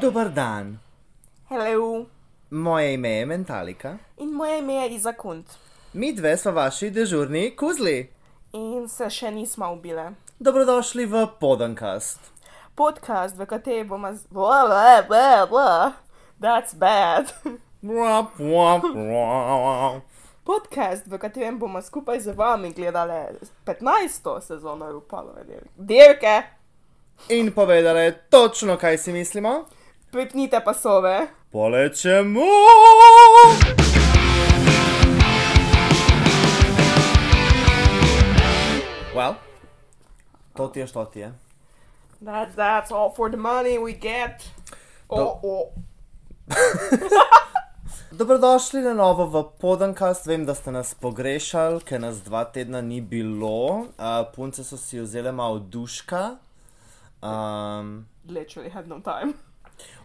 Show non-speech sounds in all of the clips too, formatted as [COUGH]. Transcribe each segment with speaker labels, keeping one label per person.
Speaker 1: Dober dan,
Speaker 2: Hello.
Speaker 1: moje ime je Mentalika.
Speaker 2: In moje ime je Iza Kunt.
Speaker 1: Mi dve smo vaši dežurni kuzli.
Speaker 2: In se še nismo ubile.
Speaker 1: Dobrodošli v Podankast.
Speaker 2: Podcast, v katerem bomo z... Bla, bla, bla, bla. That's bad. [LAUGHS]
Speaker 1: Mwap, mwap, mwap.
Speaker 2: Podcast, v katerem bomo skupaj z vami gledali 15. sezono Rupalove dirke. dirke.
Speaker 1: In povedali točno, kaj si mislimo.
Speaker 2: Pripnite pasove.
Speaker 1: Polečemo! Well, to ti je, što ti je.
Speaker 2: That, that's all for the money we get. Oh, oh.
Speaker 1: Dobrodošli na novo v Podankast. Vem, da ste nas pogrešali, ker nas dva tedna ni bilo. Uh, punce so si vzele malo duška. Um,
Speaker 2: Literally had no time.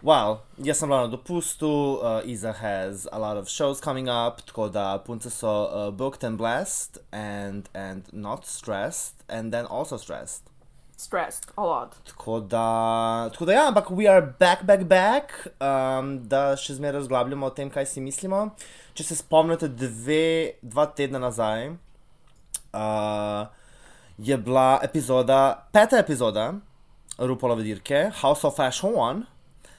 Speaker 1: Wow, jaz sem bila na dopustu, uh, Iza has a lot of shows coming up, tako da punce so uh, booked and blessed and, and not stressed and then also stressed.
Speaker 2: Stressed a lot.
Speaker 1: Tako da, tako da ja, ampak we are back, back, back, um, da še zmeraj razglabljamo o tem, kaj si mislimo. Če se spomnite, dve, dva tedna nazaj uh, je bila epizoda, peta epizoda Rupolove dirke, House of Fashion.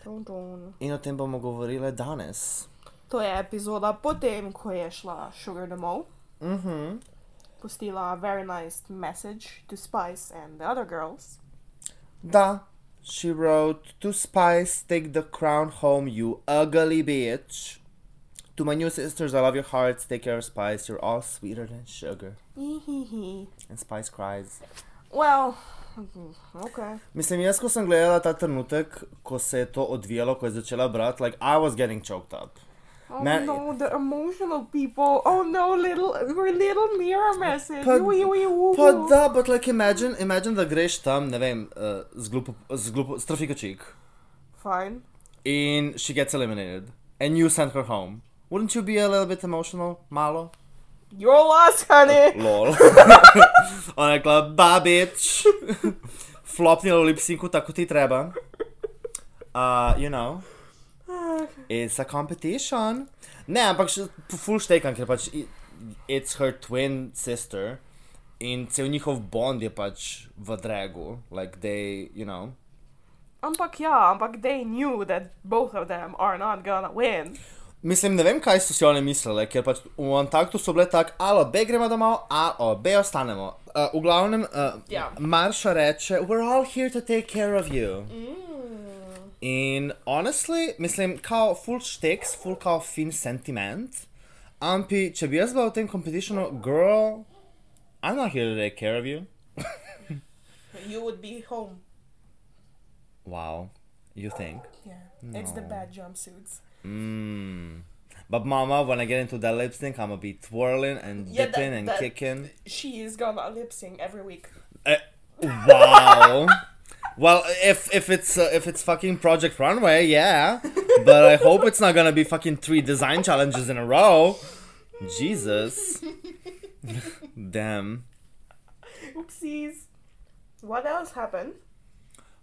Speaker 2: Dun, dun.
Speaker 1: In o tem bomo govorili danes.
Speaker 2: To je epizoda potem, ko je šla Sugar domov.
Speaker 1: Mhm.
Speaker 2: Pustila a very nice message to Spice and the other girls.
Speaker 1: Da, she wrote, To spies, take the crown home, you ugly bitch. To my new sisters, I love your hearts, take care of spice, you're all sweeter than sugar.
Speaker 2: Hihihi.
Speaker 1: And spice cries.
Speaker 2: Well, mhm, okay.
Speaker 1: Mislim, jaz, ko sem gledala ta trenutek, ko se je to odvijalo, ko je začela brati, like, I was getting choked up.
Speaker 2: Oh
Speaker 1: Man-
Speaker 2: no, the emotional people. Oh no, little your little mirror message.
Speaker 1: Pa-
Speaker 2: Ui, ui, ui.
Speaker 1: Pa da, but like imagine, imagine da greš tam, ne vem, uh, z glupo, z glupo, s trafiko čik.
Speaker 2: Fine.
Speaker 1: and she gets eliminated and you send her home wouldn't you be a little bit emotional malo
Speaker 2: Your loss, honey.
Speaker 1: lol [LAUGHS] ona je rekla ba bitch flopnila v lipsinku tako ti treba uh, you know it's a competition ne ampak še p- full štekam ker pač i- it's her twin sister in cel njihov bond je pač v dragu like they you know
Speaker 2: Ampak ja, ampak they knew that both of them are not gonna win.
Speaker 1: Mislim, ne vem, kaj so si one mislile, ker pač v Antarktu so bile tako, ali obe gremo domov, ali obe ostanemo. Uh, v glavnem, uh,
Speaker 2: Ja.
Speaker 1: Marša reče, we're all here to take care of you.
Speaker 2: Mm.
Speaker 1: In honestly, mislim, kao full šteks, full kao fin sentiment. Ampi, če bi jaz bila v tem competitionu, girl, I'm not here to take care of you.
Speaker 2: You would be home.
Speaker 1: Wow, you think?
Speaker 2: Yeah. It's the bad jumpsuits.
Speaker 1: Mm. But mama, when I get into that lip sync, I'ma be twirling and
Speaker 2: Yeah, that-
Speaker 1: dipping and
Speaker 2: that-
Speaker 1: kicking.
Speaker 2: She is gonna lip sync every week.
Speaker 1: Uh, wow. well, if if it's uh, if it's fucking Project Runway, yeah. But I hope it's not gonna be fucking three design challenges in a row. Jesus. Damn.
Speaker 2: Oopsies. What else happened?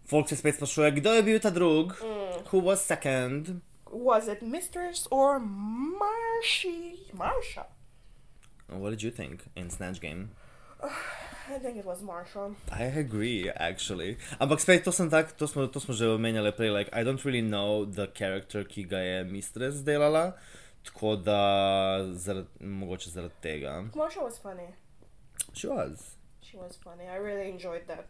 Speaker 1: Folk se spet sprašuje, kdo je bil ta drug? Who was second?
Speaker 2: Was it Mistress or Marshy? Marsha.
Speaker 1: What did you think in Snatch Game?
Speaker 2: I think it was Marsha.
Speaker 1: I agree, actually. Ampak spet to sem tak, to smo, to smo že omenjali prej, like, I don't really know the character, ki ga je mistress delala, tako da zarad, mogoče zaradi tega.
Speaker 2: Marsha was funny.
Speaker 1: She was.
Speaker 2: She was funny. I really enjoyed that.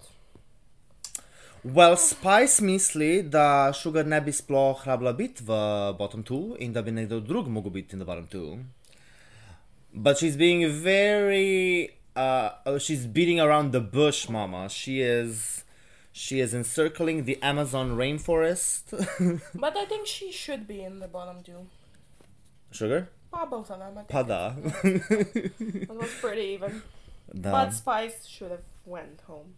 Speaker 1: Well, Spice misli, da Sugar ne bi sploh rabila biti v bottom two in da bi nekdo drug mogel biti in the bottom two. But she's being very, uh, oh, she's beating around the bush, mama. She is, she is encircling the Amazon rainforest.
Speaker 2: But I think she should be in the bottom two.
Speaker 1: [LAUGHS] Sugar?
Speaker 2: Pa both of them. I think.
Speaker 1: Pa da.
Speaker 2: It was pretty even.
Speaker 1: da.
Speaker 2: But Spice should have went home.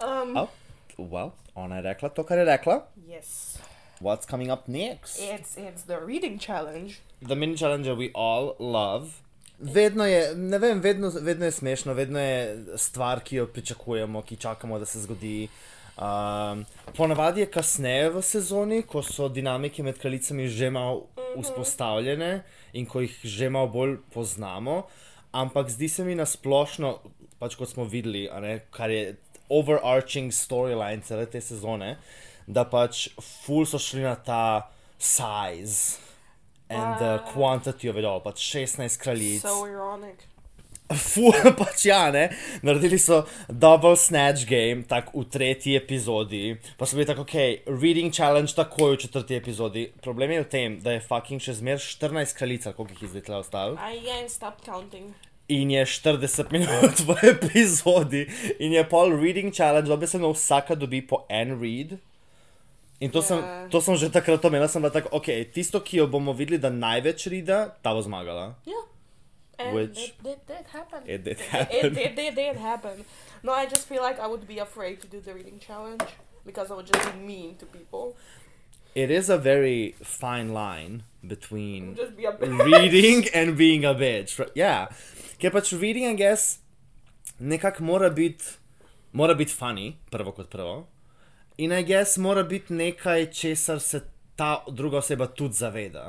Speaker 2: Um.
Speaker 1: Oh, well, ona je rekla to, kar je rekla.
Speaker 2: Yes.
Speaker 1: What's coming up next?
Speaker 2: It's it's the reading challenge.
Speaker 1: The mini challenger we all love. Vedno je, ne vem, vedno, vedno je smešno, vedno je stvar, ki jo pričakujemo, ki čakamo, da se zgodi. Um, ponavadi je kasneje v sezoni, ko so dinamike med kraljicami že malo vzpostavljene in ko jih že malo bolj poznamo, ampak zdi se mi na splošno, pač kot smo videli, a ne, kar je overarching storyline cele te sezone, da pač ful so šli na ta size. And the quantity of it all, pač 16 kraljic.
Speaker 2: Ah. So ironic.
Speaker 1: [LAUGHS] Ful, pač ja, ne. Naredili so double snatch game, tako v tretji epizodi, pa so bili tako, ok, reading challenge takoj v četrti epizodi. Problem je v tem, da je fucking še zmer 14 kraljic, ali koliko jih je zdaj tle ostalo.
Speaker 2: I can't stop counting.
Speaker 1: In je 40 minut [LAUGHS] v epizodi, in je pol reading challenge, dobesedno vsaka dobi po en read. In to, yeah. sem,
Speaker 2: Ja.
Speaker 1: to sem že takrat omenila, sem bila tako, ok, tisto, ki jo bomo videli, da največ rida, ta bo zmagala.
Speaker 2: Yeah. And
Speaker 1: Which-
Speaker 2: it did, did happen.
Speaker 1: It did
Speaker 2: [LAUGHS] It
Speaker 1: happen.
Speaker 2: did, did, did happen. No, I just feel like I would be afraid to do the reading challenge because I would just be mean to people.
Speaker 1: it is a very fine line between
Speaker 2: Just be a bit. [LAUGHS]
Speaker 1: reading and being a bitch. Right? Yeah. Ker pač reading, I guess, nekako mora biti, mora biti funny, prvo kot prvo. In I guess mora biti nekaj, česar se ta druga oseba tudi zaveda.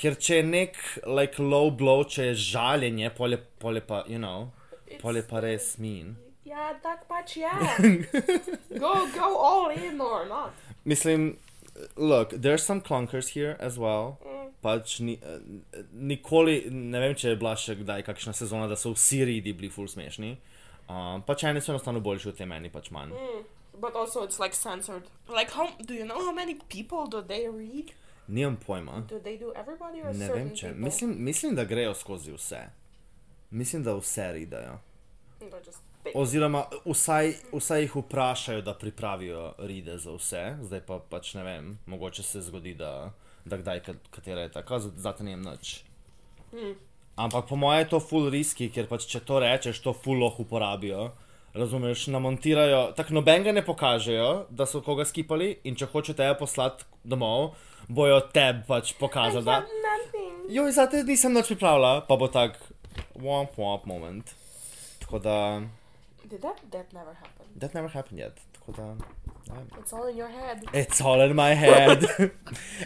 Speaker 1: Ker če je nek like, low blow, če je žaljenje, polje, polje pa, you know, polje pa res
Speaker 2: [LAUGHS]
Speaker 1: min.
Speaker 2: Yeah, that much, yeah.
Speaker 1: [LAUGHS]
Speaker 2: go, go all in or not.
Speaker 1: Mislim, look, there's some clunkers here as well. Pač ni, eh, nikoli, ne vem, če je bila še kdaj kakšna sezona, da so vsi ridi bili full smešni. Um, pač eni so enostavno boljši od te meni, pač manj.
Speaker 2: But also, it's like censored. Like, how do you know how many people do they read?
Speaker 1: Nimam pojma.
Speaker 2: Do they do everybody or
Speaker 1: Ne
Speaker 2: certain
Speaker 1: vem, če.
Speaker 2: people?
Speaker 1: Mislim, mislim, da grejo skozi vse. Mislim, da vse ridajo.
Speaker 2: They're just big.
Speaker 1: Oziroma, vsaj, vsaj jih vprašajo, da pripravijo ride za vse, zdaj pa pač ne vem, mogoče se zgodi, da, da kdaj kat- katera je tako, zato ne vem nič. Ampak po mojem je to full riski, ker pač če to rečeš, to full lahko uporabijo. Razumeš, namontirajo, tako nobenega ne pokažejo, da so koga skipali in če hoče tebe poslati domov, bojo tebi pač pokazali, da
Speaker 2: nothing.
Speaker 1: joj, zate nisem nič pripravila, pa bo tak womp womp moment. Tako da.
Speaker 2: Did that? That never happened.
Speaker 1: That never happened yet. Tako da, ne vem.
Speaker 2: It's all in your head.
Speaker 1: It's all in my head. [LAUGHS]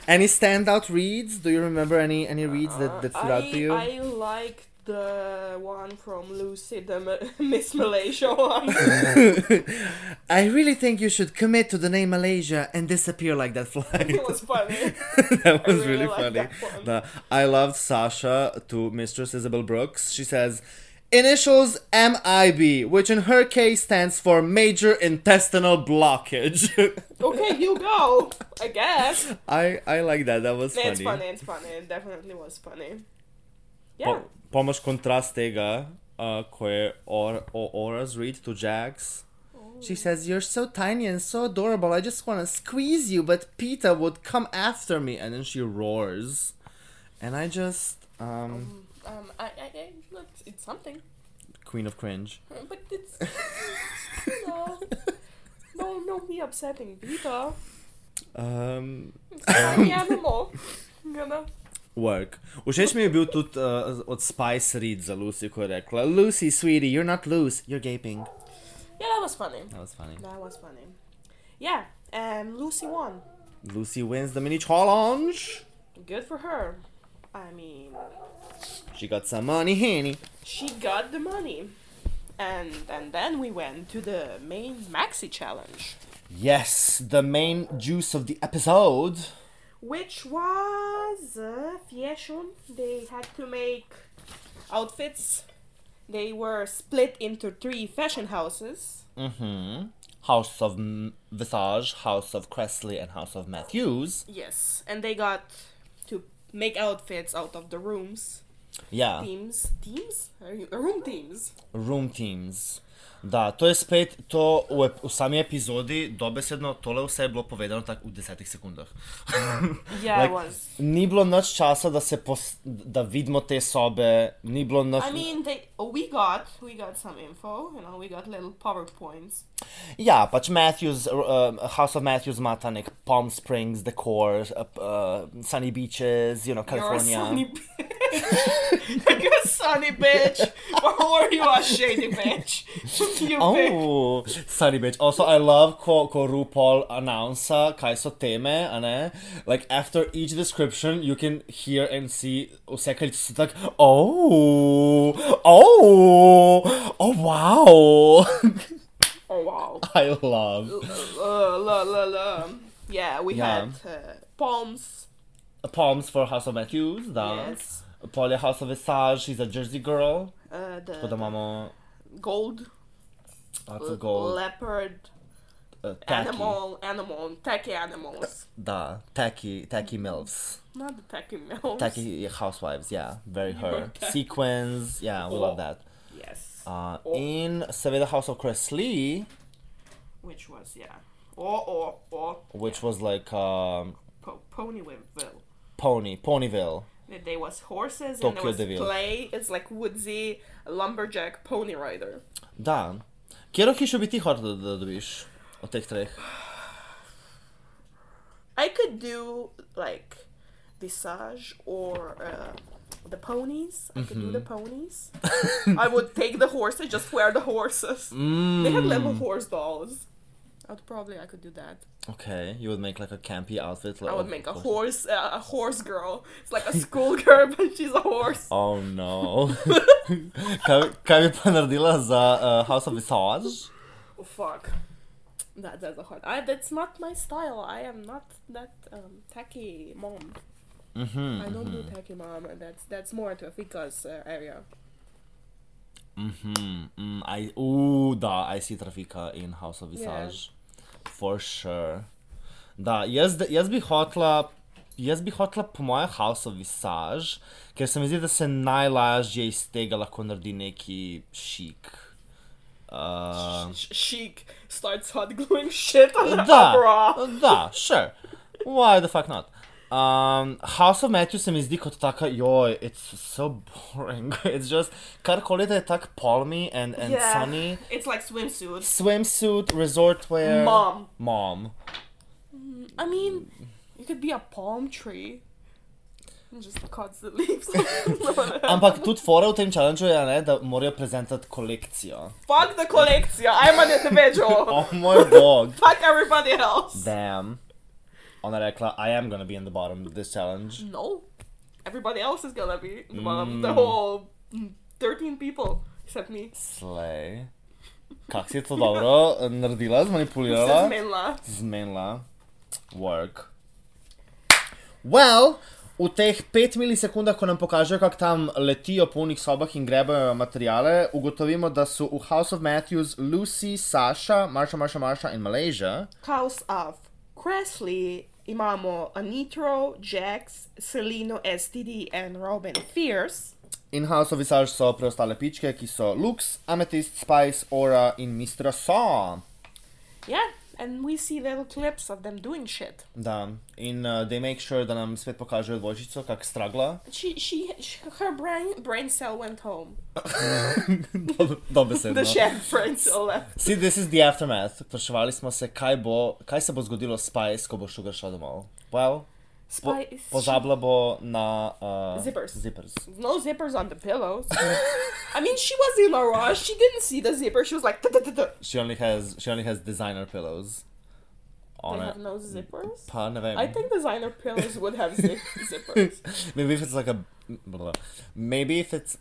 Speaker 1: any standout reads? Do you remember any any reads that, that stood out to you?
Speaker 2: I, I like the one from Lucy, the Ma- [LAUGHS] Miss Malaysia
Speaker 1: [LAUGHS]
Speaker 2: one.
Speaker 1: [LAUGHS] I really think you should commit to the name Malaysia and disappear like that fly.
Speaker 2: it was funny.
Speaker 1: [LAUGHS] that was
Speaker 2: really
Speaker 1: really
Speaker 2: like
Speaker 1: funny.
Speaker 2: that one.
Speaker 1: No, I loved Sasha to Mistress Isabel Brooks. She says, initials MIB, which in her case stands for major intestinal blockage. [LAUGHS]
Speaker 2: Okay, you go. I guess.
Speaker 1: I, I like that. That was
Speaker 2: It's funny. It's funny. It definitely was funny.
Speaker 1: Pa,
Speaker 2: Yeah.
Speaker 1: pa imaš kontrast tega, uh, ko je Or, o, Ora's read to Jax. She says, You're so tiny and so adorable, I just want to squeeze you, but Peta would come after me. And then she roars. And I just. Um,
Speaker 2: Um, I, I, I look, it's something, [LAUGHS]
Speaker 1: Queen of Cringe.
Speaker 2: but it's [LAUGHS] no, no, no, me upsetting Beta.
Speaker 1: Um,
Speaker 2: It's a
Speaker 1: [LAUGHS]
Speaker 2: funny animal. You know.
Speaker 1: Work. Všeč mi je bil tudi uh, od Spice Reed za Lucy, ko je rekla: Lucy, sweetie, you're not loose, you're gaping.
Speaker 2: Yeah, that was funny.
Speaker 1: That was funny.
Speaker 2: That was funny. Yeah, and Lucy won.
Speaker 1: Lucy wins the mini challenge.
Speaker 2: Good for her. I mean,
Speaker 1: She got some money, honey.
Speaker 2: she got the money. And, and then we went to the main maxi challenge,
Speaker 1: Yes, the main juice of the episode.
Speaker 2: which was uh, fashion. They had to make outfits. They were split into three fashion houses.
Speaker 1: Mm-hmm. House of M- Visage, House of Cressley, and House of Matthews.
Speaker 2: Yes, and they got to make outfits out of the rooms,
Speaker 1: Ja,
Speaker 2: teams, teams, Are you- room teams.
Speaker 1: room teams. Da, to je spet to v, ep- v sami epizodi, dobesedno tole vse je bilo povedano tako v desetih sekundah.
Speaker 2: [LAUGHS] Yeah, it was.
Speaker 1: Ni bilo noč časa, da, se pos, da vidimo te sobe, ni bilo noč.
Speaker 2: I mean, they we got we got some info. You know, we got little powerpoints.
Speaker 1: Ja, pač Matthews, uh, House of Matthews ima ta nek Palm Springs decor, uh, uh, Sunny Beaches, you know,
Speaker 2: Your
Speaker 1: California.
Speaker 2: sunny [LAUGHS] like a sunny bitch, or were you a shady bitch? [LAUGHS] you pick.
Speaker 1: Oh, sorry bitch. Also, I love ko, ko RuPaul announce kaj so teme, a ne? Like, after each description, you can hear and see vse, kaj so tak, oh, oh, oh, wow. [LAUGHS]
Speaker 2: Oh wow.
Speaker 1: I love
Speaker 2: Uh, la, la, la. Yeah, we
Speaker 1: Yeah.
Speaker 2: had uh, palms.
Speaker 1: palms for House of Matthews, da.
Speaker 2: Yes.
Speaker 1: Pol je House of Visage, she's a Jersey girl.
Speaker 2: Uh, the
Speaker 1: Tako da imamo
Speaker 2: gold, uh,
Speaker 1: lots of gold.
Speaker 2: leopard,
Speaker 1: Uh, tacky.
Speaker 2: animal, animal, tacky animals.
Speaker 1: Da, tacky, tacky milfs.
Speaker 2: Not the tacky mills.
Speaker 1: Tacky housewives, yeah, very her.
Speaker 2: Okay.
Speaker 1: Sequins, yeah, we love that.
Speaker 2: Yes.
Speaker 1: Uh,
Speaker 2: Oh.
Speaker 1: In Seveda House of Cressley,
Speaker 2: Which was yeah. Or or or
Speaker 1: which was like um,
Speaker 2: po- Ponyville.
Speaker 1: Pony, Ponyville.
Speaker 2: There was horses and
Speaker 1: Tokyo
Speaker 2: there was
Speaker 1: Devil.
Speaker 2: play. It's like woodsy lumberjack pony rider.
Speaker 1: Da. Kjero hišo bi ti hotel, da dobiš od teh treh?
Speaker 2: I could do like visage or uh, the ponies. I could do
Speaker 1: Mm-hmm.
Speaker 2: the ponies. I would take the horses, just wear the horses. They had
Speaker 1: Mm.
Speaker 2: little horse dolls. I'd probably I could do that.
Speaker 1: Okay, you would make like a campy outfit. Like,
Speaker 2: I would
Speaker 1: of
Speaker 2: make a
Speaker 1: course.
Speaker 2: horse uh, a horse girl. It's like a schoolgirl, [LAUGHS] but she's a
Speaker 1: [LAUGHS]
Speaker 2: horse. Oh,
Speaker 1: Oh no. kaj, kaj bi pa naredila za uh, House of Visage?
Speaker 2: Oh, fuck. That, that's a hard. I, that's not my style. I am not that um, tacky mom.
Speaker 1: Mhm.
Speaker 2: I don't do tacky mom. and That's that's more to Afika's uh, area.
Speaker 1: Mhm. Mm, I ooh, da, I see Trafika in House of Visage. For sure. Da, jaz, d- jaz bi hotla Jaz bi hotla po mojem House of Visage, ker se mi zdi, da se najlažje iz tega lahko naredi neki šik. Uh,
Speaker 2: Sh- chic starts hot gluing [LAUGHS] shit on her
Speaker 1: da,
Speaker 2: bra.
Speaker 1: da, sure. Why the fuck not? Um, House of Matthew se mi zdi kot taka, joj, it's so boring. [LAUGHS] It's just, karkoli da je tako palmy and, and sunny.
Speaker 2: It's like swimsuit.
Speaker 1: Swimsuit, resort wear.
Speaker 2: Mom.
Speaker 1: Mom.
Speaker 2: I mean, you could be a palm tree. And just cuts the [LAUGHS] leaves.
Speaker 1: Ampak tudi fora v tem challengeu je, a ne, da morajo prezentati kolekcijo.
Speaker 2: Fuck the collectia. I'm an
Speaker 1: [LAUGHS]
Speaker 2: individual.
Speaker 1: Oh moj bog.
Speaker 2: [LAUGHS] Fuck everybody else.
Speaker 1: Damn. Ona je rekla, I am gonna be in the bottom of this challenge.
Speaker 2: No. Everybody else is gonna be in the bottom. The whole mm, 13 people except me.
Speaker 1: Slej. Kak si je to dobro eh, naredila, zmanipulirala?
Speaker 2: This is Minla.
Speaker 1: zmenila work. Well, v teh 5 milisekundah, ko nam pokažejo, kako tam letijo po unih sobah in grebejo materijale, ugotovimo, da so v House of Matthews Lucy, Sasha, Marsha, Marsha, Marsha in Malaysia.
Speaker 2: House of Cressley, imamo Anitro, Jax, Celino, STD, and Robin Fierce.
Speaker 1: In House of Visage so preostale pičke, ki so Lux, Amethyst, Spice, Aura in Mistra Saw.
Speaker 2: Yeah, and we see little clips of them doing shit.
Speaker 1: Da, in uh, they make sure, da nam spet pokažejo dvojčico, kako [LAUGHS] stragla.
Speaker 2: She, she, sh her brain, brain cell went home. [LAUGHS]
Speaker 1: Dob- Dobesedno.
Speaker 2: The shared brain cell
Speaker 1: [LAUGHS]
Speaker 2: left.
Speaker 1: See, this is the aftermath. Spraševali smo se, kaj, bo, kaj se bo zgodilo s Spice, ko bo Sugar šla domov. Well, po,
Speaker 2: Spice.
Speaker 1: pozabila bo na uh,
Speaker 2: Zippers.
Speaker 1: zippers.
Speaker 2: no zippers on the pillows. [LAUGHS] I mean, she was in a rush. She didn't see the zipper. She was like, "Duh, duh, duh, duh."
Speaker 1: She only has, she only has designer pillows.
Speaker 2: they
Speaker 1: On it.
Speaker 2: have no zippers.
Speaker 1: Pa ne vem.
Speaker 2: I think designer pillows would have
Speaker 1: [LAUGHS]
Speaker 2: zip- zippers.
Speaker 1: maybe if it's like a, blah, blah. maybe if it's,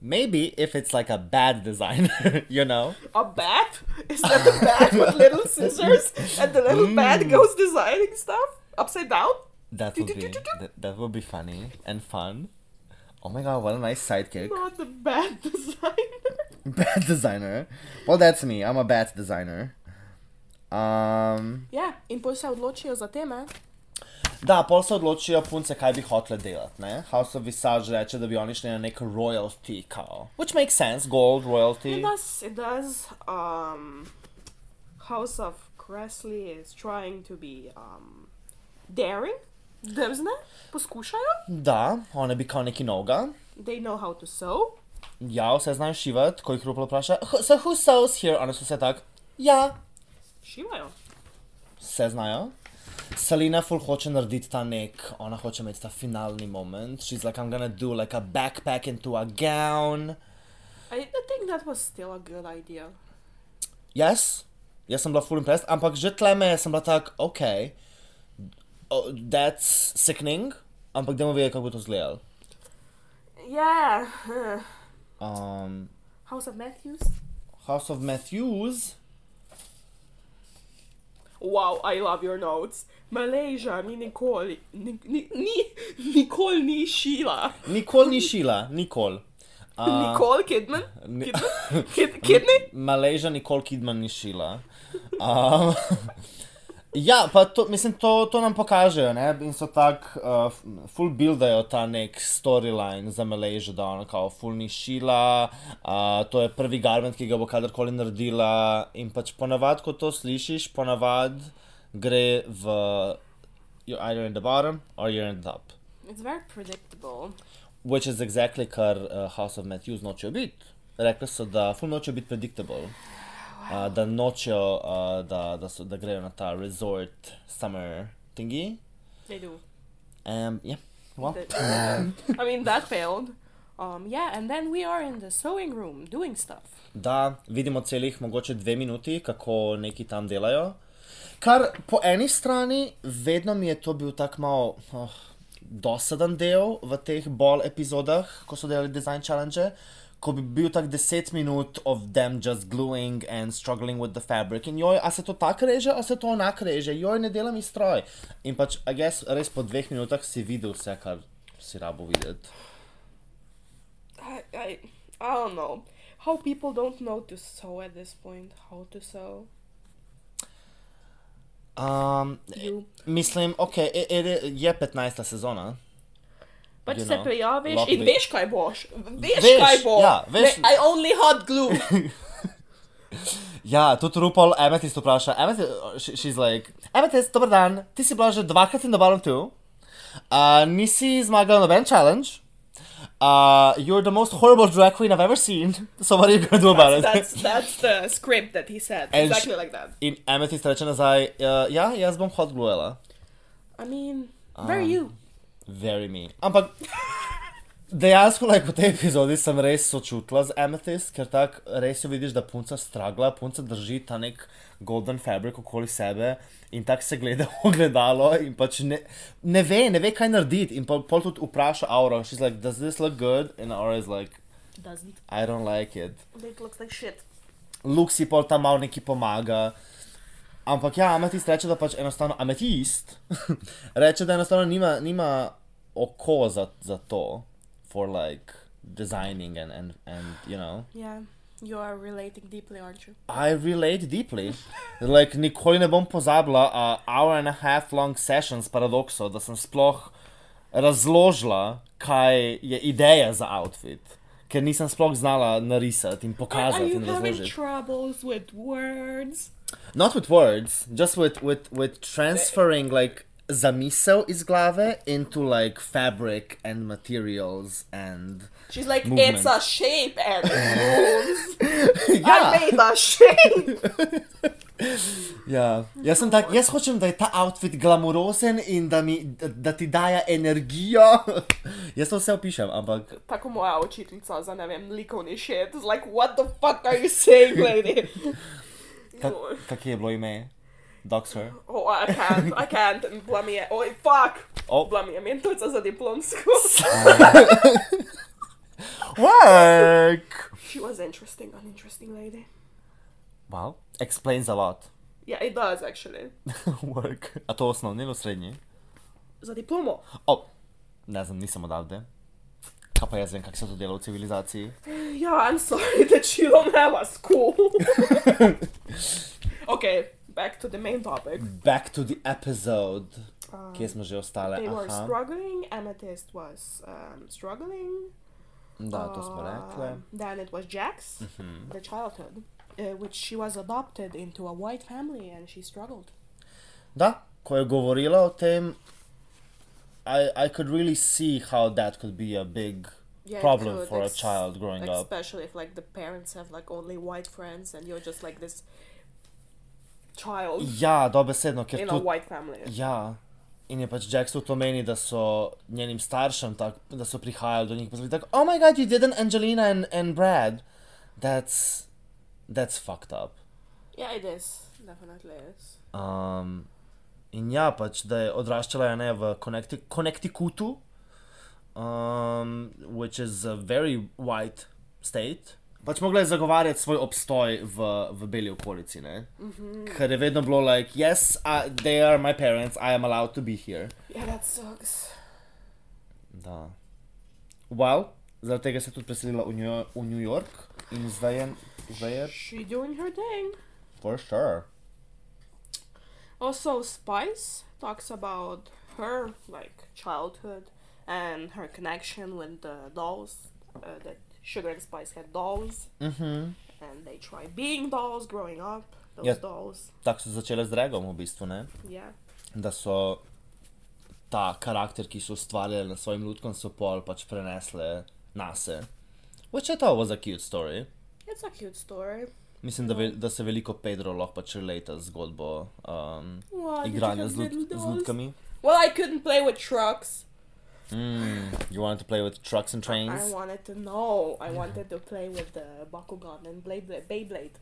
Speaker 1: maybe if it's like a bad designer, [LAUGHS] you know.
Speaker 2: A bat? Is that the bat with little scissors? And the little bat goes designing stuff upside down?
Speaker 1: That would be that, that would be funny and fun. Oh my god, what a nice sidekick.
Speaker 2: Not the bat [LAUGHS] designer.
Speaker 1: Bad designer. Well, that's me. I'm a bad designer. Um,
Speaker 2: Ja, in pol se odločijo za teme.
Speaker 1: da, pol se odločijo punce, kaj bi hotele delati. Ne? House of Visage reče, da bi oni šli na nek royalty kao. Which makes sense, gold
Speaker 2: It
Speaker 1: royalty.
Speaker 2: does, it does, um, House of Cressley is trying to be, um, daring. Drzne, poskušajo.
Speaker 1: Da, one bi kao neki noga.
Speaker 2: They know how to sew.
Speaker 1: Ja, vse znajo šivati, ko jih ruplo vpraša. "Who- So who sews here? One so vse tak. Ja,
Speaker 2: Šivajo.
Speaker 1: vse znajo. Selena full hoče narediti ta nek, ona hoče imeti ta finalni moment. She's like, I'm gonna do like a backpack into a gown.
Speaker 2: I, I think that was still a good idea.
Speaker 1: Yes, jaz sem bila full impressed, ampak že tleme sem bila tak, ok, oh, that's sickening, ampak dajmo vedeti, kako bo to izgledalo.
Speaker 2: Yeah. [LAUGHS]
Speaker 1: Um,
Speaker 2: House of Matthews.
Speaker 1: House of Matthews.
Speaker 2: Wow, I love your notes. Malaysia ni nikoli, ni, ni, ni, nikoli ni šila.
Speaker 1: Nikoli ni šila, nikoli. Uh,
Speaker 2: Nikoli Kidman?
Speaker 1: ni-
Speaker 2: Kidman?
Speaker 1: [LAUGHS]
Speaker 2: Kid, kidney?
Speaker 1: Maleža nikoli Kidman ni šila. Um, [LAUGHS] ja, pa to, mislim, to, to nam pokažejo ne? in so tako, uh, full buildajo ta nek storyline za Maležo, da ona kao full ni šila, uh, to je prvi garment, ki ga bo kadarkoli naredila in pač ponavad, ko to slišiš, ponavad gre v you're either in the bottom or you're in the top.
Speaker 2: It's very predictable.
Speaker 1: Which is exactly kar uh, House of Matthews nočejo biti. Rekli so, da ful nočejo biti predictable. Uh, da nočejo, uh, da, da, so, da grejo na ta resort summer thingy.
Speaker 2: They do.
Speaker 1: Um, yeah. Well,
Speaker 2: The- I mean, that failed. Um, yeah, and then we are in the sewing room doing stuff.
Speaker 1: da vidimo celih mogoče dve minuti, kako neki tam delajo. Kar po eni strani, vedno mi je to bil tako malo oh, dosaden del v teh bolj epizodah, ko so delali design challenge, ko bi bil tak 10 minut of them just gluing and struggling with the fabric. In joj, a se to tako reže, a se to onako reže, joj, ne delam iz stroj. In pač, a jaz res po dveh minutah si videl vse, kar si rabo videti.
Speaker 2: I, I, I don't know how people don't know to sew at this point. How to sew?
Speaker 1: Um,
Speaker 2: You.
Speaker 1: Mislim, ok, e, e, re- je 15. sezona.
Speaker 2: Pač
Speaker 1: You
Speaker 2: se
Speaker 1: know,
Speaker 2: prijaviš
Speaker 1: lahko
Speaker 2: in
Speaker 1: bi-
Speaker 2: veš, kaj boš. Veš,
Speaker 1: Veš,
Speaker 2: kaj bo.
Speaker 1: ja, veš-
Speaker 2: Ne, I only hot glue.
Speaker 1: Ja, tudi Rupol Amethyst vpraša, Amethyst, she- she's like, Amethyst, dober dan, ti si bila že dvakrat in dobalim tu, uh, nisi zmagala noben challenge, uh, you're the most horrible drag queen I've ever seen, [LAUGHS] so what are you gonna do about it?
Speaker 2: that's that's the script that he said.
Speaker 1: And sh-
Speaker 2: exactly like that.
Speaker 1: In Amethyst reče nazaj, uh, ja, jaz bom hot gluela.
Speaker 2: I mean, very
Speaker 1: Um,
Speaker 2: you.
Speaker 1: Very me. Ampak dejansko, like, v tej epizodi sem res sočutila z Amethyst, ker tako res jo vidiš, da punca stragla, punca drži ta nek golden fabric okoli sebe in tako se gleda v ogledalo in pač ne, ne ve, ne ve, kaj narediti. In pol, pol tudi vpraša Aura, she's like, does this look good? And Aura is like,
Speaker 2: Doesn't.
Speaker 1: I don't like it.
Speaker 2: It looks like shit.
Speaker 1: Luk si pol tam malo neki pomaga. Ampak ja, ametist reče, da pač enostavno, ametist [LAUGHS] reče, da enostavno nima, nima oko za, za to, for like designing and, and, and you know.
Speaker 2: Yeah, you are relating deeply, aren't you?
Speaker 1: I relate deeply. Like, nikoli ne bom pozabila uh, hour and a half long session s paradokso, da sem sploh razložila, kaj je ideja za outfit. Ker nisem sploh znala narisati in
Speaker 2: Are
Speaker 1: pokazati
Speaker 2: you
Speaker 1: in
Speaker 2: having
Speaker 1: razložiti.
Speaker 2: troubles with words?
Speaker 1: not with words, just with with with transferring like zamisel iz glave into like fabric and materials and
Speaker 2: She's like,
Speaker 1: Movement.
Speaker 2: it's a shape
Speaker 1: [LAUGHS]
Speaker 2: and moves. I
Speaker 1: ja,
Speaker 2: made a [LAUGHS] shape.
Speaker 1: ja. Jaz sem tak, jaz hočem, da je ta outfit glamurozen in da mi da, da ti daje energijo. [LAUGHS] jaz to vse opišem, ampak
Speaker 2: Tako moja učiteljica za ne vem likovni shit. It's like, what the fuck are you saying,
Speaker 1: [LAUGHS]
Speaker 2: lady?
Speaker 1: kak, kak je bilo ime? Doctor.
Speaker 2: oh, I can't, I can't. Blamije, oj, fuck.
Speaker 1: Oh.
Speaker 2: Blamije, mentorica za diplomsko.
Speaker 1: [LAUGHS] Work.
Speaker 2: She was interesting, uninteresting lady.
Speaker 1: Wow, explains a lot. [LAUGHS]
Speaker 2: Yeah, it does actually.
Speaker 1: Work. A to osnovni ali srednji?
Speaker 2: Za diplomo.
Speaker 1: O, ne znam, nisem odavde. Kaj pa jaz vem, kako se to dela v civilizaciji?
Speaker 2: [SIGHS] Yeah, I'm sorry [LAUGHS] that you don't have a
Speaker 1: [LAUGHS]
Speaker 2: school. okay, back to the main topic.
Speaker 1: Back to the episode,
Speaker 2: Um,
Speaker 1: kje smo že ostale.
Speaker 2: They were
Speaker 1: Aha,
Speaker 2: struggling. Amethyst was um, struggling.
Speaker 1: da, to smo rekli.
Speaker 2: Um, then it was Jax,
Speaker 1: Mm-hmm.
Speaker 2: the childhood, uh, which she was adopted into a white family and she struggled.
Speaker 1: Da, ko je govorila o tem, I, I could really see how that could be a big
Speaker 2: Yeah, it
Speaker 1: problem
Speaker 2: could,
Speaker 1: for a
Speaker 2: ex-
Speaker 1: child growing up.
Speaker 2: Especially if like the parents have like only white friends and you're just like this child
Speaker 1: Ja, dobesedno, ker
Speaker 2: in a
Speaker 1: tudi
Speaker 2: white family.
Speaker 1: Ja. In je pač Jackson to meni, da so njenim staršem, tak, da so prihajali do njih in tako, oh moj bog, you didn't Angelina and, and Brad. That's, that's fucked up.
Speaker 2: Yeah, it is. Definitely is.
Speaker 1: Um, in ja, pač, da je odraščala je ne v Connecti- Connecticutu, um, which is a very white state. Pač mogla je zagovarjati svoj obstoj v, v beli okolici, ne? Mm -hmm. Ker je vedno bilo like, yes, I, they are my parents, I am allowed to be here.
Speaker 2: Yeah, that sucks.
Speaker 1: Da. Wow, zaradi tega se je tudi preselila v New, v New York in zdaj je, zdaj je,
Speaker 2: She doing her thing.
Speaker 1: for sure.
Speaker 2: Also, Spice talks about her like childhood and her connection with the dolls. Uh, that Sugar and Spice had dolls,
Speaker 1: Mhm.
Speaker 2: and they tried being dolls growing up. Those
Speaker 1: Yeah.
Speaker 2: dolls,
Speaker 1: Tako so začele z dragom, v bistvu, ne?
Speaker 2: yeah.
Speaker 1: Da so ta karakter, ki so ustvarjali na svojim lutkom, so pol pač prenesle nase. Which I thought was a cute story.
Speaker 2: It's a cute story.
Speaker 1: Mislim, da, ve, da se veliko Pedro lahko pač relata z zgodbo um,
Speaker 2: Why did you
Speaker 1: igranja
Speaker 2: have
Speaker 1: z, lut,
Speaker 2: little
Speaker 1: z
Speaker 2: dolls?
Speaker 1: lutkami.
Speaker 2: Well, I couldn't play with trucks.
Speaker 1: Mm, you wanted to play with trucks and
Speaker 2: I
Speaker 1: trains?
Speaker 2: wanted to know. I wanted to play with the Bakugan and Blade, Blade Beyblade.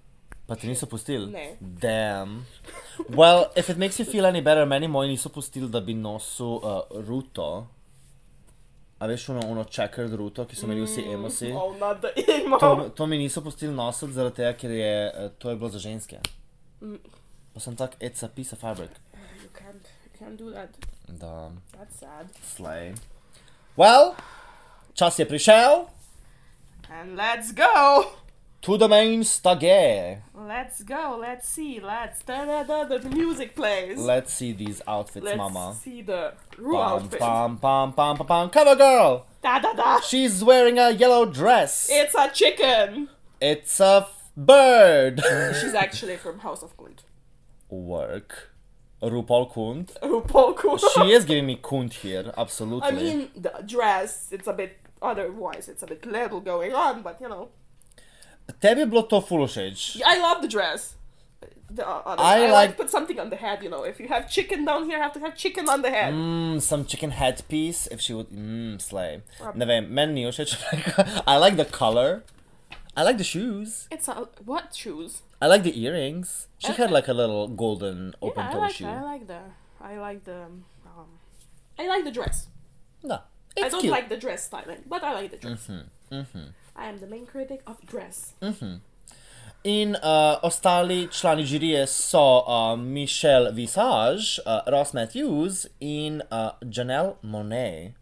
Speaker 1: Pa te niso pustili?
Speaker 2: Ne.
Speaker 1: Damn. [LAUGHS] Well, if it makes you
Speaker 2: [LAUGHS]
Speaker 1: feel any better, meni moji niso pustili, da bi nosil uh, ruto. A veš, ono, ono checkered ruto, ki so imeli vsi emosi.
Speaker 2: Oh, not the
Speaker 1: To,
Speaker 2: emo.
Speaker 1: to mi niso pustili nositi, zaradi tega, ker je eh, to je bilo za ženske.
Speaker 2: Mm.
Speaker 1: Pa sem tak, it's a piece of fabric.
Speaker 2: You can't, you can't do that.
Speaker 1: Da,
Speaker 2: That's sad.
Speaker 1: slej. Well, čas je prišel,
Speaker 2: And let's go.
Speaker 1: to the main stage.
Speaker 2: Let's go. Let's see. Let's da da da. The music plays.
Speaker 1: Let's see these outfits,
Speaker 2: Let's
Speaker 1: mama.
Speaker 2: see the Rue
Speaker 1: Pam,
Speaker 2: outfit.
Speaker 1: pam, pam, pam, pam, pam, cover girl!
Speaker 2: Da da da.
Speaker 1: She's wearing a yellow dress.
Speaker 2: It's a chicken.
Speaker 1: It's a f- bird.
Speaker 2: [LAUGHS] She's actually from House of Kunt.
Speaker 1: Work. RuPaul Kunt.
Speaker 2: RuPaul Kunt. [LAUGHS]
Speaker 1: She is giving me Kunt here, absolutely.
Speaker 2: I mean, the dress. It's a bit. Otherwise, it's a bit little going on, but you know,
Speaker 1: Tebi je bilo to full všeč.
Speaker 2: Yeah, I love the dress. The, uh, other-
Speaker 1: I
Speaker 2: I, like,
Speaker 1: like-
Speaker 2: put something on the head. You know, if you have chicken down here, have to have chicken on the head.
Speaker 1: Mm, some chicken headpiece, if she would. Mm, slay.
Speaker 2: Rub-
Speaker 1: Ne vem, meni ni všeč. [LAUGHS] I like the color. I like the shoes.
Speaker 2: It's a what shoes?
Speaker 1: I like the earrings. She had like a little golden open
Speaker 2: Yeah, I
Speaker 1: toe
Speaker 2: like,
Speaker 1: shoe.
Speaker 2: I like the, I like the, um, I like the dress.
Speaker 1: No,
Speaker 2: I
Speaker 1: it's
Speaker 2: don't
Speaker 1: cute. Mm-hmm,
Speaker 2: like the dress styling, but I like the dress. I am the main critic of dress.
Speaker 1: Mm. In uh, ostali člani žirije so uh, Michelle Visage, uh, Ross Matthews in uh, Janelle Monet,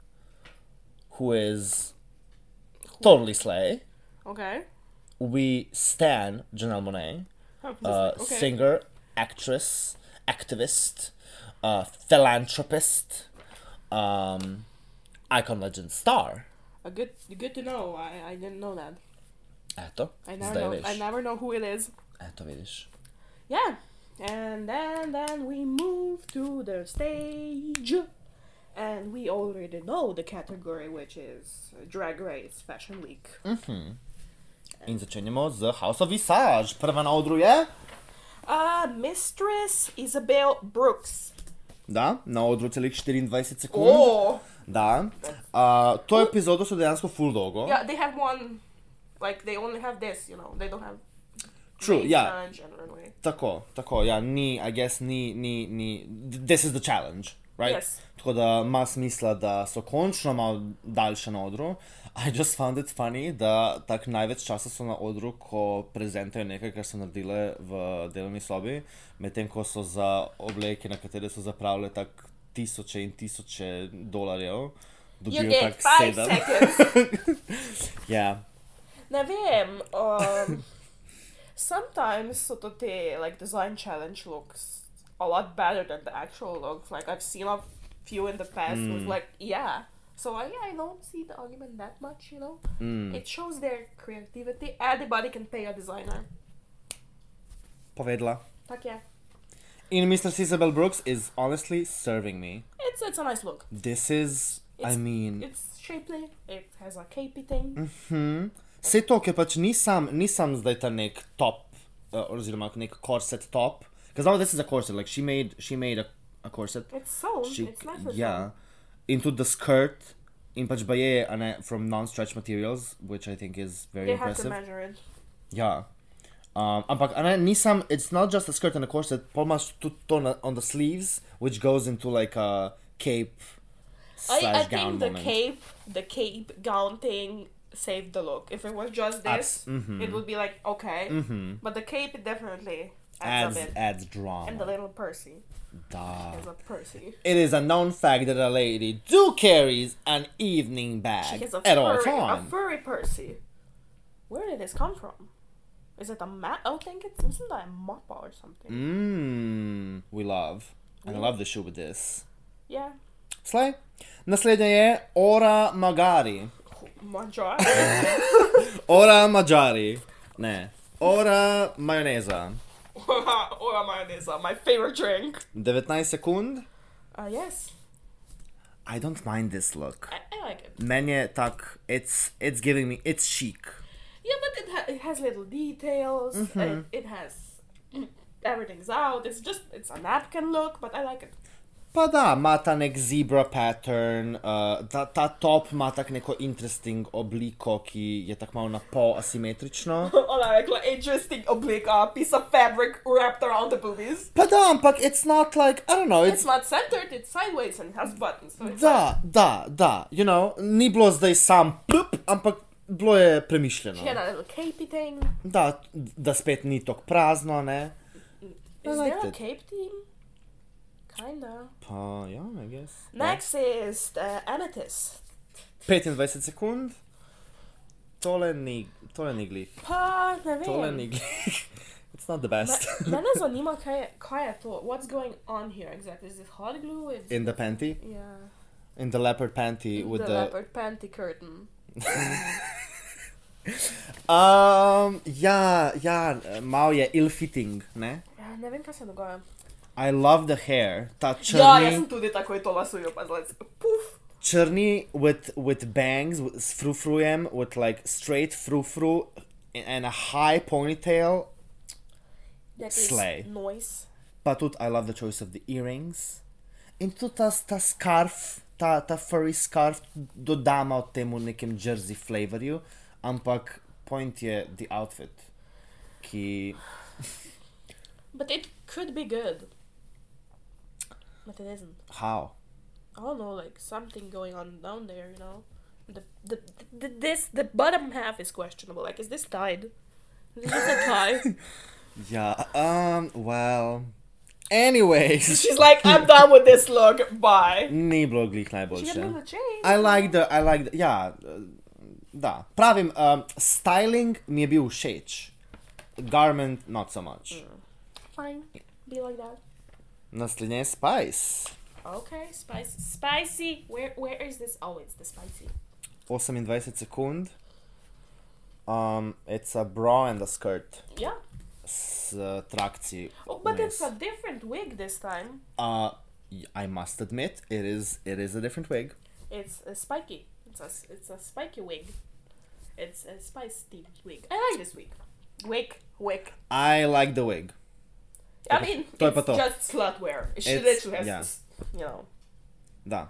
Speaker 1: who is totally slay.
Speaker 2: Okay.
Speaker 1: We stan Janelle Monet,
Speaker 2: I'm just
Speaker 1: uh,
Speaker 2: like, okay.
Speaker 1: singer, actress, activist, uh, philanthropist, um, icon legend star.
Speaker 2: A Uh, good, good to know. I, I didn't know that.
Speaker 1: Eto,
Speaker 2: I never
Speaker 1: zdaj
Speaker 2: know. I
Speaker 1: veš.
Speaker 2: never know who it is.
Speaker 1: Eto, vidiš.
Speaker 2: Yeah. And then then we move to the stage. And we already know the category, which is Drag Race Fashion Week.
Speaker 1: In začenjamo z House of Visage. Prva na odru je.
Speaker 2: Uh, Mistress Isabel Brooks.
Speaker 1: Da, na odru celih 24 sekund.
Speaker 2: Oh!
Speaker 1: Da. Uh, to epizodo so dejansko full dolgo.
Speaker 2: Yeah, they have one. Like they only have this, you know. They don't have
Speaker 1: True,
Speaker 2: main
Speaker 1: ja.
Speaker 2: challenge and runway.
Speaker 1: Tako, tako, ja, ni, I guess, ni, ni, ni, this is the challenge, right?
Speaker 2: Yes.
Speaker 1: Tako da ima smisla, da so končno malo daljše na odru. I just found it funny, da tak največ časa so na odru, ko prezentajo nekaj, kar so naredile v delovni sobi, medtem ko so za obleke, na katere so zapravile tak tisoče in tisoče dolarjev,
Speaker 2: You
Speaker 1: dobijo
Speaker 2: get
Speaker 1: tak
Speaker 2: five
Speaker 1: sedem.
Speaker 2: seconds.
Speaker 1: [LAUGHS] Ja,
Speaker 2: ne vem. Um, sometimes sort of the like design challenge looks a lot better than the actual looks. Like I've seen a few in the past. It was
Speaker 1: Mm.
Speaker 2: like yeah. So I, I don't see the argument that much, you know.
Speaker 1: Mm.
Speaker 2: It shows their creativity. Anybody can pay a designer.
Speaker 1: povedala.
Speaker 2: Tak yeah.
Speaker 1: In Mr. Isabel Brooks is honestly serving me.
Speaker 2: It's it's a nice look.
Speaker 1: This is, I
Speaker 2: It's-
Speaker 1: mean.
Speaker 2: It's shapely. It has a capey thing.
Speaker 1: Hm. Vse to, ki pač nisem, nisem zdaj ta nek top, uh, oziroma nek korset top, because now this is a corset. Like she made she made a, a corset.
Speaker 2: It's sewn.
Speaker 1: She
Speaker 2: it's nice. and
Speaker 1: yeah, into the skirt in pač baye and I, from non-stretch materials, which I think is
Speaker 2: sewn.
Speaker 1: very
Speaker 2: They have to
Speaker 1: impressive.
Speaker 2: measure it.
Speaker 1: Yeah. Um, ampak a ne, nisam, it's not just a skirt and a corset, pol imaš tudi to na, on the sleeves, which goes into like a cape slash
Speaker 2: I,
Speaker 1: gown
Speaker 2: I think the
Speaker 1: moment.
Speaker 2: cape, the cape gown thing saved the look. If it was just
Speaker 1: Abs- mm-hmm.
Speaker 2: this, it would be like okay. But the cape definitely adds,
Speaker 1: adds,
Speaker 2: a bit.
Speaker 1: adds drama.
Speaker 2: And the little Percy
Speaker 1: Duh.
Speaker 2: is a Percy.
Speaker 1: It is a known fact that a lady do carries an evening bag
Speaker 2: She has a
Speaker 1: at all
Speaker 2: furry, a
Speaker 1: times.
Speaker 2: furry Percy. Where did this come from? Is it a map? I think it's isn't that a mappa or something?
Speaker 1: Mm. Mmm, we love. And I love the shoe with this. [LAUGHS]
Speaker 2: Yeah.
Speaker 1: Slay. Naslednja je Ora Magari. [LAUGHS]
Speaker 2: Majar.
Speaker 1: Ora Magari. Ne. Ora Majoneza.
Speaker 2: [LAUGHS] or mayonnaise, uh, my favorite drink.
Speaker 1: 19 sekund.
Speaker 2: Uh, yes,
Speaker 1: I don't mind this look.
Speaker 2: I, I like it.
Speaker 1: Meni je tak, it's, it's giving me, it's chic.
Speaker 2: Yeah, but it, ha- it has little details. It, it has mm, everything's out. It's just it's a napkin look, but I like [LAUGHS] it.
Speaker 1: Pa da, ima ta nek zebra pattern, uh, ta, ta top ima tak neko interesting obliko, ki je tako malo na pol asimetrično.
Speaker 2: I Oh, like, like interesting oblique uh, piece of fabric wrapped around the boobies.
Speaker 1: Pa da, ampak it's not like, I don't know, it's...
Speaker 2: It's not centered. It's sideways and has buttons. So it's like-
Speaker 1: Da, da, da, you know, ni bilo zdaj sam plup, ampak bilo je premišljeno.
Speaker 2: she had a little capey thing.
Speaker 1: Da, da spet ni tako prazno, ne. I
Speaker 2: Is
Speaker 1: liked
Speaker 2: there a
Speaker 1: it.
Speaker 2: cape team? Kinda.
Speaker 1: Pa ja, I guess.
Speaker 2: Next is the amethyst.
Speaker 1: 25 sekund. Tole ni, tole ni glih.
Speaker 2: Pa ne
Speaker 1: Tole
Speaker 2: vem.
Speaker 1: ni glih. [LAUGHS] It's not the best.
Speaker 2: Me-
Speaker 1: [LAUGHS]
Speaker 2: Mene [LAUGHS] zanima, kaj je, kaj je to? What's going on here exactly? Is it hot glue? Is...
Speaker 1: In the panty,
Speaker 2: Yeah.
Speaker 1: in the leopard panty with
Speaker 2: the,
Speaker 1: the. [LAUGHS]
Speaker 2: leopard panty curtain.
Speaker 1: Um, ja, ja, malo je ill fitting, ne?
Speaker 2: Ja, ne vem, kaj se dogaja.
Speaker 1: I love the hair. Ta črni,
Speaker 2: Ja, jaz sem tudi takoj to lasujo, pa zdaj puf.
Speaker 1: črni with, with bangs, with, s frufrujem, with like straight frufru and a high ponytail. Slay.
Speaker 2: Noise.
Speaker 1: Pa tudi I love the choice of the earrings. In tudi ta, ta scarf, ta, ta furry scarf dodama temu nekem jersey flavorju, ampak point je the outfit, ki
Speaker 2: But it could be good. But it isn't.
Speaker 1: how?
Speaker 2: I don't know, like something going on down there, you know. The the, the this the bottom half is questionable. Like, is this tied? Is this a tie?
Speaker 1: [LAUGHS] Yeah, um, well, anyways.
Speaker 2: [LAUGHS] She's like, I'm done with this look. Bye.
Speaker 1: [LAUGHS] Ni bilo glih
Speaker 2: She got a
Speaker 1: najboljše.
Speaker 2: little change.
Speaker 1: I like the, I like the, ja, eh, da. Pravim, um, styling mi je bil všeč. Garment not so much.
Speaker 2: Fine. Be like that.
Speaker 1: Naslednje je Spice.
Speaker 2: Okay, spicy. Spicy. Where where is this? Oh, it's the spicy.
Speaker 1: 28 sekund. Um, it's a bra and a skirt
Speaker 2: Yeah.
Speaker 1: s uh, trakci.
Speaker 2: Oh, but
Speaker 1: vmes.
Speaker 2: it's a different wig this time.
Speaker 1: Uh, I must admit, it is it is a different wig.
Speaker 2: It's a spiky. It's a it's a spiky wig. It's a spice themed wig. I like this wig. Wig. Wig.
Speaker 1: I like the wig.
Speaker 2: I mean,
Speaker 1: Toy
Speaker 2: it's
Speaker 1: pato.
Speaker 2: just slutwear. She
Speaker 1: It's-
Speaker 2: literally has,
Speaker 1: yeah.
Speaker 2: this, you know.
Speaker 1: Da.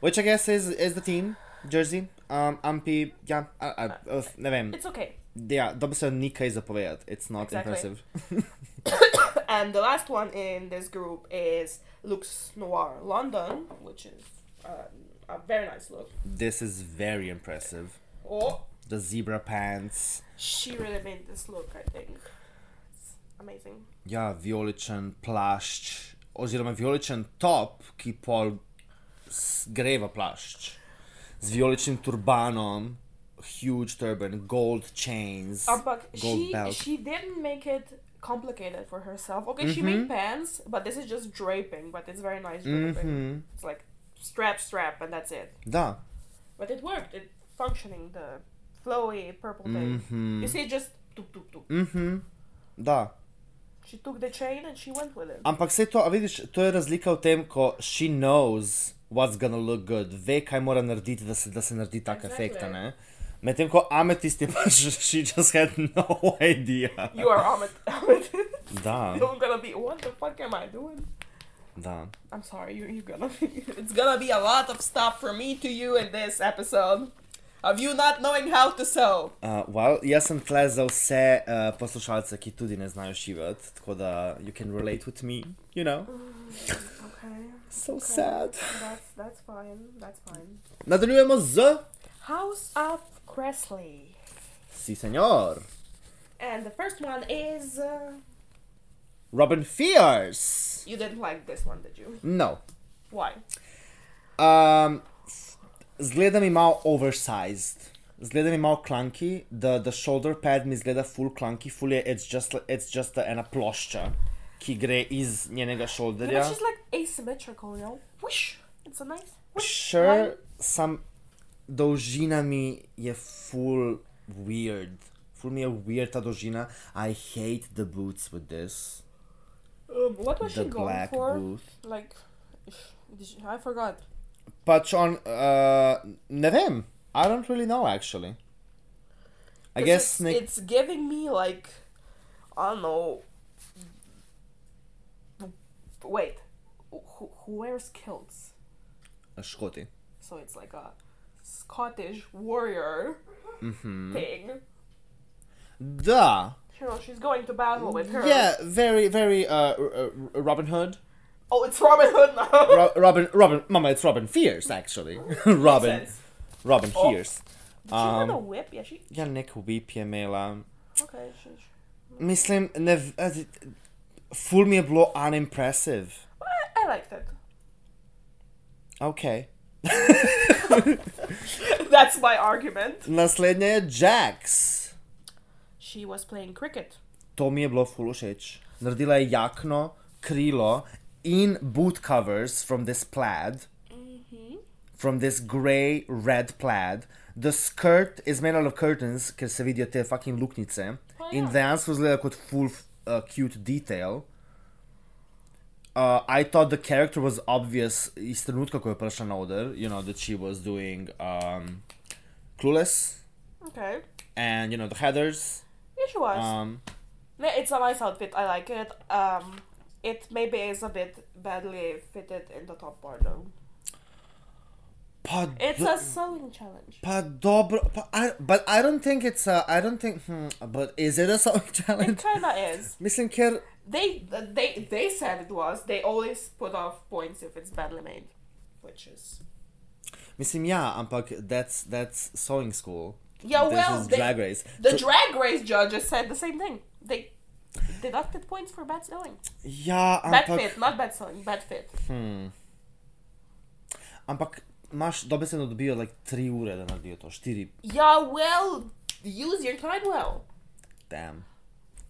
Speaker 1: Which I guess is is the team jersey. Um, ampi, ja, a, a, uh, ne vem.
Speaker 2: It's okay.
Speaker 1: Ja, dobro se ni kaj zapovedati. It's not
Speaker 2: Exactly.
Speaker 1: impressive. [LAUGHS]
Speaker 2: And the last one in this group is Lux Noir London, which is uh, a very nice look.
Speaker 1: This is very impressive.
Speaker 2: Oh,
Speaker 1: The zebra pants.
Speaker 2: she really made this look. I think it's amazing.
Speaker 1: Ja, vijoličen plašč, oziroma vijoličen top, ki pol s- gre v plašč. Z vijoličnim turbanom, huge turban, gold chains,
Speaker 2: Ampak
Speaker 1: gold
Speaker 2: she
Speaker 1: belt.
Speaker 2: she didn't make it complicated for herself. Okay, she
Speaker 1: Mm-hmm.
Speaker 2: made pants, but this is just draping, but it's very nice draping.
Speaker 1: Mhm.
Speaker 2: It's like strap strap and that's it.
Speaker 1: Da,
Speaker 2: But it worked. It functioning the flowy purple thing.
Speaker 1: Mm-hmm.
Speaker 2: You see just tuk tuk tuk.
Speaker 1: mhm, da.
Speaker 2: She took the chain and she went with it.
Speaker 1: Ampak se to, a vidiš, to je razlika v tem, ko she knows what's gonna look good, ve, kaj mora narediti, da se, da se naredi tak
Speaker 2: Exactly.
Speaker 1: efekt, a ne? [LAUGHS] Medtem ko ametist je pač, she just had no idea.
Speaker 2: [LAUGHS] You are Ahmed. Ahmed.
Speaker 1: Da,
Speaker 2: You're gonna be. What the fuck am I doing?
Speaker 1: da.
Speaker 2: I'm sorry. You, you're gonna. it's gonna be [LAUGHS] a lot of stuff from me to you in this episode of you not knowing how to sew.
Speaker 1: Uh, well, jaz sem tle za vse uh, poslušalce, ki tudi ne znajo šivati, tako da you can relate with me, you know.
Speaker 2: Okay.
Speaker 1: So sad.
Speaker 2: That's that's fine. That's fine.
Speaker 1: Nadaljujemo z
Speaker 2: House of Cressley.
Speaker 1: Si senor,
Speaker 2: And the first one is. Uh,
Speaker 1: Robin Fierce.
Speaker 2: you didn't like this one, did you?
Speaker 1: No.
Speaker 2: Why?
Speaker 1: Um, zgleda mi malo oversized. Zgleda mi malo clunky, the, the shoulder pad mi zgleda full clunky, full je, it's just, li- it's just ena plošča, ki gre iz njenega šolderja.
Speaker 2: But she's like asymmetrical, you know? Whoosh! It's a nice. Whoosh.
Speaker 1: Sure, sam dolžina mi je full weird. Full mi je weird ta dolžina. I hate the boots with this.
Speaker 2: Um, what was
Speaker 1: The
Speaker 2: she going
Speaker 1: black
Speaker 2: for?
Speaker 1: boot.
Speaker 2: Like, did she, I forgot.
Speaker 1: Pač on, uh, ne vem. I don't really know actually. I
Speaker 2: 'Cause
Speaker 1: guess
Speaker 2: it's,
Speaker 1: nek-
Speaker 2: it's giving me like, I don't know. Wait, who, who wears kilts?
Speaker 1: Ah, Škoti.
Speaker 2: So it's like a Scottish warrior
Speaker 1: Mm-hmm.
Speaker 2: thing.
Speaker 1: Da.
Speaker 2: You know, she's going to battle with her.
Speaker 1: Yeah, very, very uh, r- r- Robin Hood.
Speaker 2: Oh, it's Robin Hood now.
Speaker 1: Ro- Robin, Robin, Mama, it's Robin Fierce actually. [LAUGHS] Robin,
Speaker 2: sense.
Speaker 1: Robin
Speaker 2: Oh.
Speaker 1: Fierce.
Speaker 2: she had a
Speaker 1: Um,
Speaker 2: whip. Yeah, she.
Speaker 1: ja, nek whip je imela.
Speaker 2: Okay, she. she
Speaker 1: Mislim, ne, v- eh, ful mi je bilo unimpressive.
Speaker 2: I, I liked it. [LAUGHS]
Speaker 1: Ok. [LAUGHS]
Speaker 2: That's my argument.
Speaker 1: Naslednja je Jax.
Speaker 2: She was playing cricket.
Speaker 1: To mi je bilo ful všeč. Naredila je jakno, krilo in boot covers from this plaid.
Speaker 2: Mhm.
Speaker 1: From this grey red plaid. The skirt is made out of curtains, ker se vidijo te fucking luknjice. In
Speaker 2: Oh, ja.
Speaker 1: dejansko zgleda kot full uh, cute detail. uh, I thought the character was obvious iz trenutka, ko je prišla na oder, you know, that she was doing um, Clueless
Speaker 2: Okay.
Speaker 1: and, you know, the Heathers.
Speaker 2: Yeah, she was.
Speaker 1: Um,
Speaker 2: No, it's a nice outfit. I like it. Um, it maybe is a bit badly fitted in the top part though.
Speaker 1: pa,
Speaker 2: It's
Speaker 1: do-
Speaker 2: a sewing challenge.
Speaker 1: pa dobro, pa, I, but I don't think it's a, I don't think, hmm, but is it a song
Speaker 2: It
Speaker 1: [LAUGHS] challenge?
Speaker 2: kinda is.
Speaker 1: Mislim, ker,
Speaker 2: They they they said it was. They always put off points if it's badly made, which is
Speaker 1: mislim, ja, ampak that's, that's sewing school.
Speaker 2: yeah.
Speaker 1: This
Speaker 2: well,
Speaker 1: is
Speaker 2: they-
Speaker 1: Drag Race.
Speaker 2: the
Speaker 1: So-
Speaker 2: drag race judges said the same thing. They deducted points for bad sewing,
Speaker 1: ja,
Speaker 2: bad
Speaker 1: ampak, hmm.
Speaker 2: fit, not bad sewing, bad fit.
Speaker 1: ampak imaš, dobesedno dobijo, like, tri ure, da naredijo to, štiri,
Speaker 2: Yeah, well, use your time well.
Speaker 1: damn,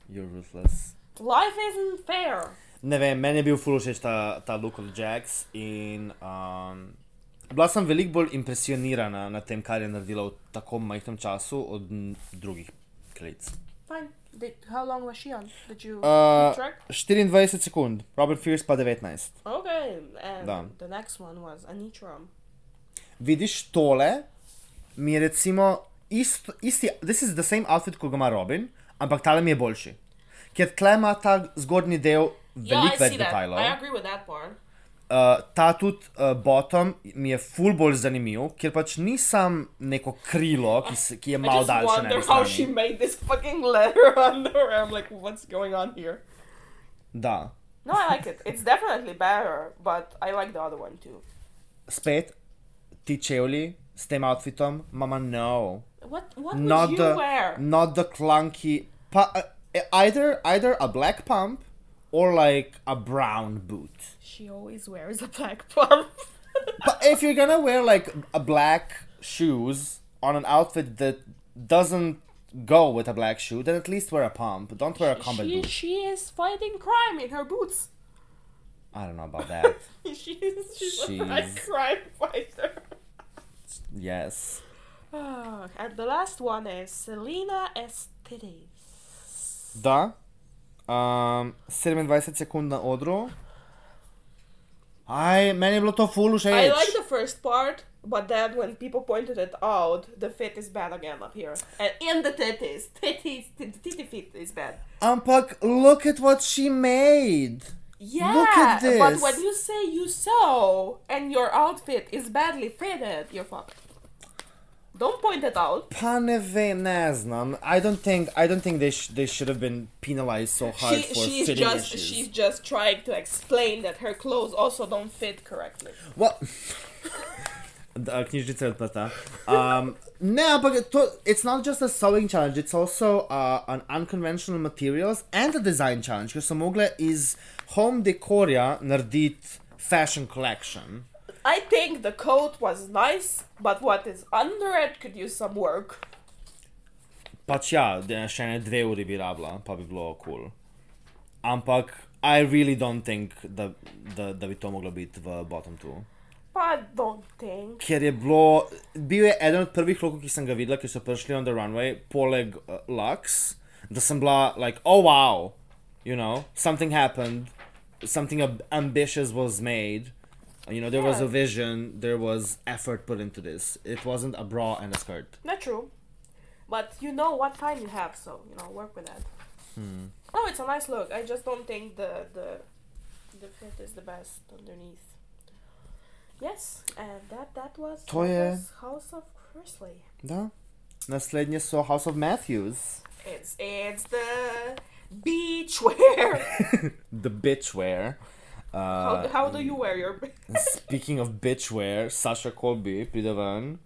Speaker 1: you're ruthless.
Speaker 2: Life isn't fair.
Speaker 1: Ne vem, meni je bil ful všeč ta, ta look od Jax in um, bila sem veliko bolj impresionirana nad tem, kar je naredila v tako majhnem času od n- drugih klic.
Speaker 2: Fine. Did, how long was she on? Did you
Speaker 1: Uh,
Speaker 2: keep track?
Speaker 1: 24 sekund, Robert Fierce pa 19.
Speaker 2: Okay, and
Speaker 1: Da.
Speaker 2: the next one was Anitram.
Speaker 1: Vidiš tole, mi je recimo isto, isti, this is the same outfit, kot ga ima Robin, ampak tale mi je boljši. Ker tle ima ta zgornji del
Speaker 2: Ja,
Speaker 1: veliko več detajlov.
Speaker 2: I agree with that part.
Speaker 1: Uh, ta tudi uh, bottom mi je ful bolj zanimiv, ker pač ni sam neko krilo, ki, se, ki je
Speaker 2: I
Speaker 1: malo
Speaker 2: just
Speaker 1: daljše. na
Speaker 2: wonder
Speaker 1: eni
Speaker 2: how
Speaker 1: strani.
Speaker 2: she made this fucking letter [LAUGHS] under. I'm like, what's going on here?
Speaker 1: Da.
Speaker 2: No, I like it. It's definitely better, but I like the other one too.
Speaker 1: Spet, ti čevlji s tem outfitom, mama no.
Speaker 2: What what would
Speaker 1: Not
Speaker 2: you
Speaker 1: the,
Speaker 2: wear?
Speaker 1: not the clunky, pa, uh, either, either a black pump or like a brown boot.
Speaker 2: She always wears a black pump.
Speaker 1: But
Speaker 2: [LAUGHS]
Speaker 1: if you're gonna wear like a black shoes on an outfit that doesn't go with a black shoe, then at least wear a pump. Don't wear a combat
Speaker 2: she
Speaker 1: boot.
Speaker 2: she is fighting crime in her boots. [LAUGHS]
Speaker 1: I don't know about that. [LAUGHS]
Speaker 2: she's she's, a black
Speaker 1: She's-
Speaker 2: crime fighter.
Speaker 1: yes.
Speaker 2: Ah, [SIGHS] and the last one is Selena Estides.
Speaker 1: Da. Um, 27 sekund na odru. Aj, meni je bilo to ful všeč.
Speaker 2: I like the first part, but then when people pointed it out, the fit is bad again up here. And in the titties. Titties, tit- titty fit is bad.
Speaker 1: Ampak, look at what she made.
Speaker 2: Yeah,
Speaker 1: at
Speaker 2: but
Speaker 1: this.
Speaker 2: when you say you sew and your outfit is badly fitted, you're fucked. Don't point it out.
Speaker 1: Pa ne vem, ne znam. I don't think, I don't think they, sh- they should have been penalized so hard
Speaker 2: She,
Speaker 1: for
Speaker 2: she's
Speaker 1: fitting
Speaker 2: just
Speaker 1: issues.
Speaker 2: she's just trying to explain that her clothes also don't fit correctly.
Speaker 1: Well, uh, knjižnica je odprta. Um, ne, ampak to, it's not just a sewing challenge, it's also uh, an unconventional materials and a design challenge, ker so mogle iz home dekorja narediti fashion collection.
Speaker 2: I think the coat was nice, but what is under it could use some work.
Speaker 1: Pač ja, da še ne dve uri bi rabila, pa bi bilo kul. Cool. Ampak I really don't think, da, da, da bi to moglo biti v bottom two.
Speaker 2: I don't think.
Speaker 1: Ker je bilo, bil je eden od prvih lokov, ki sem ga videla, ki so prišli on the runway, poleg uh, Lux, da sem bila, like, oh wow, you know, something happened, something ab- ambitious was made, you know, there was a
Speaker 2: Yeah.
Speaker 1: vision, there was effort put into this. It wasn't a bra and a skirt.
Speaker 2: Not true. But you know what time you have, so you know, work with that.
Speaker 1: Hmm.
Speaker 2: Oh, it's a nice look. I just don't think the the the fit is the best underneath. Yes, and that that was,
Speaker 1: To
Speaker 2: that
Speaker 1: je-
Speaker 2: was House of Chrisley.
Speaker 1: Da. Naslednje so House of Matthews,
Speaker 2: It's it's the beach
Speaker 1: [LAUGHS]
Speaker 2: wear.
Speaker 1: the bitchware.
Speaker 2: how,
Speaker 1: Uh, mm.
Speaker 2: do, how do you wear your? [LAUGHS]
Speaker 1: speaking of bitchware, Sasha Colby pride ven,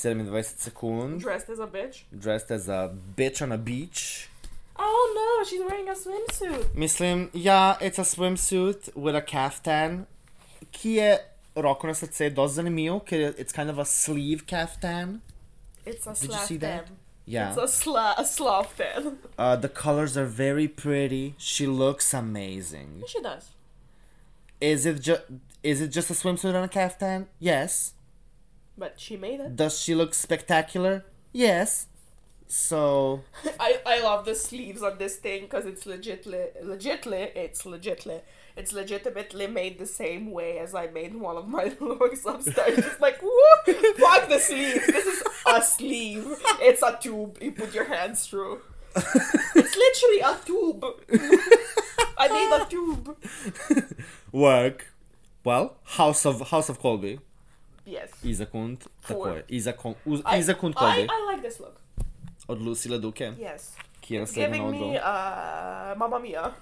Speaker 1: 27 sekund.
Speaker 2: dressed as a bitch.
Speaker 1: dressed as a bitch on a beach.
Speaker 2: Oh no, she's wearing a swimsuit.
Speaker 1: Mislim, ja, it's a swimsuit with a kaftan, ki je roko na srce dosti zanimiv, ker je it's kind of a sleeve kaftan.
Speaker 2: It's a
Speaker 1: Did you
Speaker 2: slav
Speaker 1: see that?
Speaker 2: tan.
Speaker 1: Yeah.
Speaker 2: It's a sla a slav tan.
Speaker 1: Uh, the colors are very pretty. She looks amazing.
Speaker 2: [LAUGHS] she does.
Speaker 1: Is it just is it just a swimsuit and a kaftan? Yes.
Speaker 2: But she made it.
Speaker 1: Does she look spectacular? Yes. So
Speaker 2: I, I love the sleeves on this thing because it's legitly, legitly, it's legitly, it's legitimately made the same way as I made one of my [LAUGHS] looks upstairs. Just like, whoop, fuck the sleeves. This is a sleeve. It's a tube you put your hands through. It's literally a tube. I made a tube.
Speaker 1: [LAUGHS] work. Well, House of House of Colby.
Speaker 2: Yes.
Speaker 1: Izakund, tako
Speaker 2: Four.
Speaker 1: je. Izakund, uz,
Speaker 2: I,
Speaker 1: Izakund
Speaker 2: I,
Speaker 1: Colby
Speaker 2: I like this look.
Speaker 1: od Lucille Duke,
Speaker 2: Yes.
Speaker 1: ki je naslednja na
Speaker 2: Giving me
Speaker 1: odru.
Speaker 2: uh, Mamma Mia.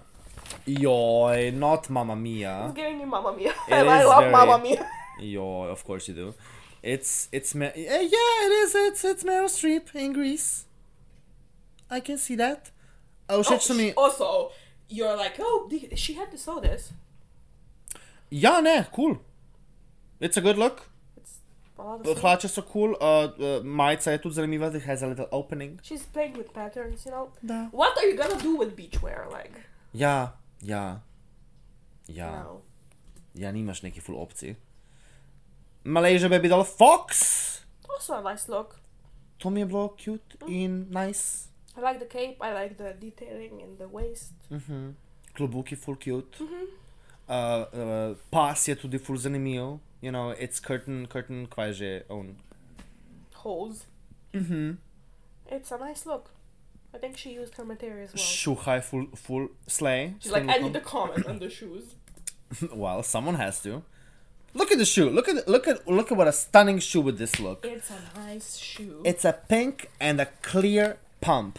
Speaker 1: Joj, not Mamma Mia.
Speaker 2: It's giving me Mamma Mia.
Speaker 1: It
Speaker 2: and [LAUGHS] I
Speaker 1: is
Speaker 2: love
Speaker 1: very-
Speaker 2: Mamma Mia.
Speaker 1: Joj, of course you do. It's, it's, Ma- eh, yeah, it is, it's, it's Meryl Streep in Greece. I can see that. A všeč so
Speaker 2: Oh,
Speaker 1: mi,
Speaker 2: Also, you're like, oh, the- she had to sew this.
Speaker 1: ja ne, cool. It's a good look.
Speaker 2: It's a lot of sewing.
Speaker 1: Hlače so cool, uh, uh, majica je tudi zanimiva, it has a little opening.
Speaker 2: She's playing with patterns, you know.
Speaker 1: Da.
Speaker 2: What are you gonna do with beachwear? Like,
Speaker 1: Ja, ja. Ja.
Speaker 2: no.
Speaker 1: Ja, nimaš neki full opcij. Malaysia Baby Doll Fox!
Speaker 2: Also a nice look.
Speaker 1: To mi je bilo cute in nice.
Speaker 2: I like the cape. I like the detailing in the waist.
Speaker 1: Klobuk je full cute.
Speaker 2: Mhm.
Speaker 1: Uh, uh, pas je tudi full zanimiv. You know, it's curtain, curtain, kaj je že on.
Speaker 2: Holes. Mm-hmm. It's a nice look. I think she used her material as well.
Speaker 1: Šuha je full, full slay.
Speaker 2: She's like, I need a comment on the shoes.
Speaker 1: [LAUGHS] well, someone has to. Look at the shoe. Look at look at look at what a stunning shoe with this look.
Speaker 2: It's a nice shoe.
Speaker 1: It's a pink and a clear pump.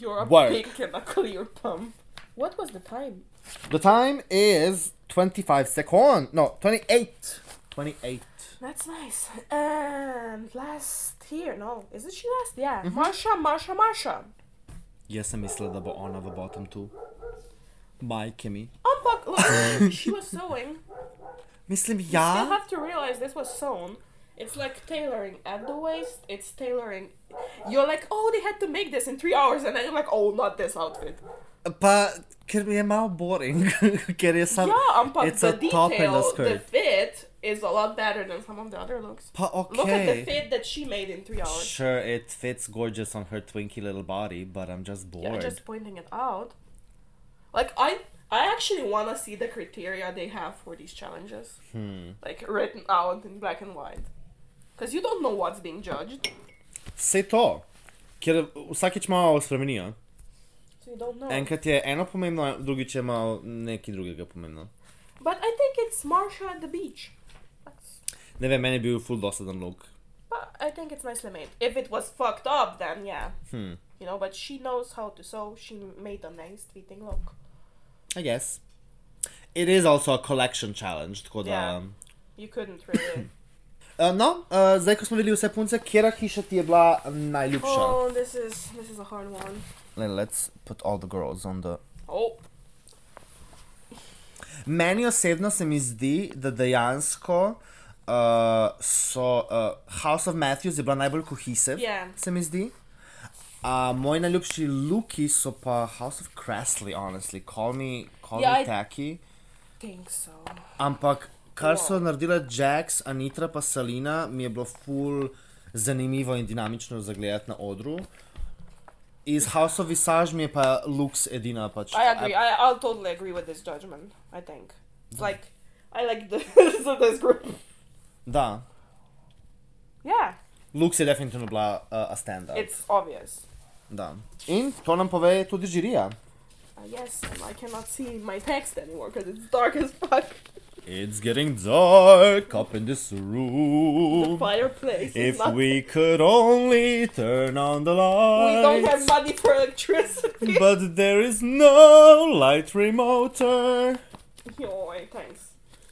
Speaker 2: You're a
Speaker 1: work.
Speaker 2: pink and a clear pump. What was the time?
Speaker 1: The time is 25 second. No, 28. 28.
Speaker 2: That's nice. And last here, no, isn't she last? Yeah, Marsha, Marsha, Marsha.
Speaker 1: Jaz sem mislila, da bo ona v bottom tu. Majke mi. [LAUGHS]
Speaker 2: Unbuck. Look, Oh, she was sewing.
Speaker 1: Mislim,
Speaker 2: I
Speaker 1: ja.
Speaker 2: have to realize this was sewn. It's like tailoring at the waist. It's tailoring. You're like, oh, they had to make this in three hours, and then you're like, oh, not this outfit.
Speaker 1: Pa, ker mi je malo boring, [LAUGHS] ker je sam.
Speaker 2: yeah, unbuck.
Speaker 1: it's
Speaker 2: the
Speaker 1: a top and a
Speaker 2: detail, the
Speaker 1: skirt.
Speaker 2: fit is a lot better than some of the other looks.
Speaker 1: Pa,
Speaker 2: Look at the
Speaker 1: okay.
Speaker 2: fit that she made in three hours.
Speaker 1: Sure, it fits gorgeous on her twinky little body, but I'm just
Speaker 2: Yeah,
Speaker 1: bored.
Speaker 2: just pointing it out. Like I, I I actually want to see the criteria they have for these challenges,
Speaker 1: Hmm.
Speaker 2: like written out in black and white, because you don't know what's being judged,
Speaker 1: Vse to, ker vsakeč malo spremenijo.
Speaker 2: so you don't know.
Speaker 1: Enkrat je eno pomembno, drugič je malo nekaj drugega pomembno.
Speaker 2: but I think it's Marsha at the beach. That's,
Speaker 1: Ne vem, meni je bil full dosaden lok.
Speaker 2: but I think it's nicely made. If it was fucked up, then yeah,
Speaker 1: Hmm,
Speaker 2: you know. But she knows how to sew. She made a nice fitting look.
Speaker 1: I guess. It is also a collection challenge, tako da.
Speaker 2: Yeah. You couldn't
Speaker 1: [LAUGHS]
Speaker 2: really.
Speaker 1: Uh, no, uh, zdaj ko smo videli vse punce, katera hiša ti je bila najljubša?
Speaker 2: oh, this is this is a hard one.
Speaker 1: Le- Let's put all the girls on the.
Speaker 2: Oh,
Speaker 1: Meni osebno se mi zdi, da dejansko uh, so uh, House of Matthews je bila najbolj kohesiv.
Speaker 2: Yeah.
Speaker 1: Se mi zdi. Uh, moji najljubši luki so pa House of Cressley, honestly, call me, call
Speaker 2: Ja,
Speaker 1: me
Speaker 2: I-
Speaker 1: tacky.
Speaker 2: think so.
Speaker 1: Ampak kar so
Speaker 2: Wow.
Speaker 1: naredile Jax, Anitra pa Salina, mi je bilo ful zanimivo in dinamično zagledati na odru. Iz House of Visage mi je pa Lux edina pač.
Speaker 2: I agree. I, I'll totally agree with this judgment. I think
Speaker 1: Mm.
Speaker 2: it's like I like the [LAUGHS] so this group.
Speaker 1: Da,
Speaker 2: Yeah,
Speaker 1: Lux je definitivno bila uh, a stand-up.
Speaker 2: it's obvious.
Speaker 1: Da. In to nam pove tudi žirija.
Speaker 2: Uh, yes, and I cannot see my text anymore because it's dark as fuck.
Speaker 1: It's getting dark up in this
Speaker 2: The
Speaker 1: room.
Speaker 2: fireplace. is
Speaker 1: If
Speaker 2: not-
Speaker 1: we could only turn on the
Speaker 2: we
Speaker 1: lights.
Speaker 2: don't have money for [LAUGHS] electricity.
Speaker 1: But there is no light remoter.
Speaker 2: Yoy, thanks.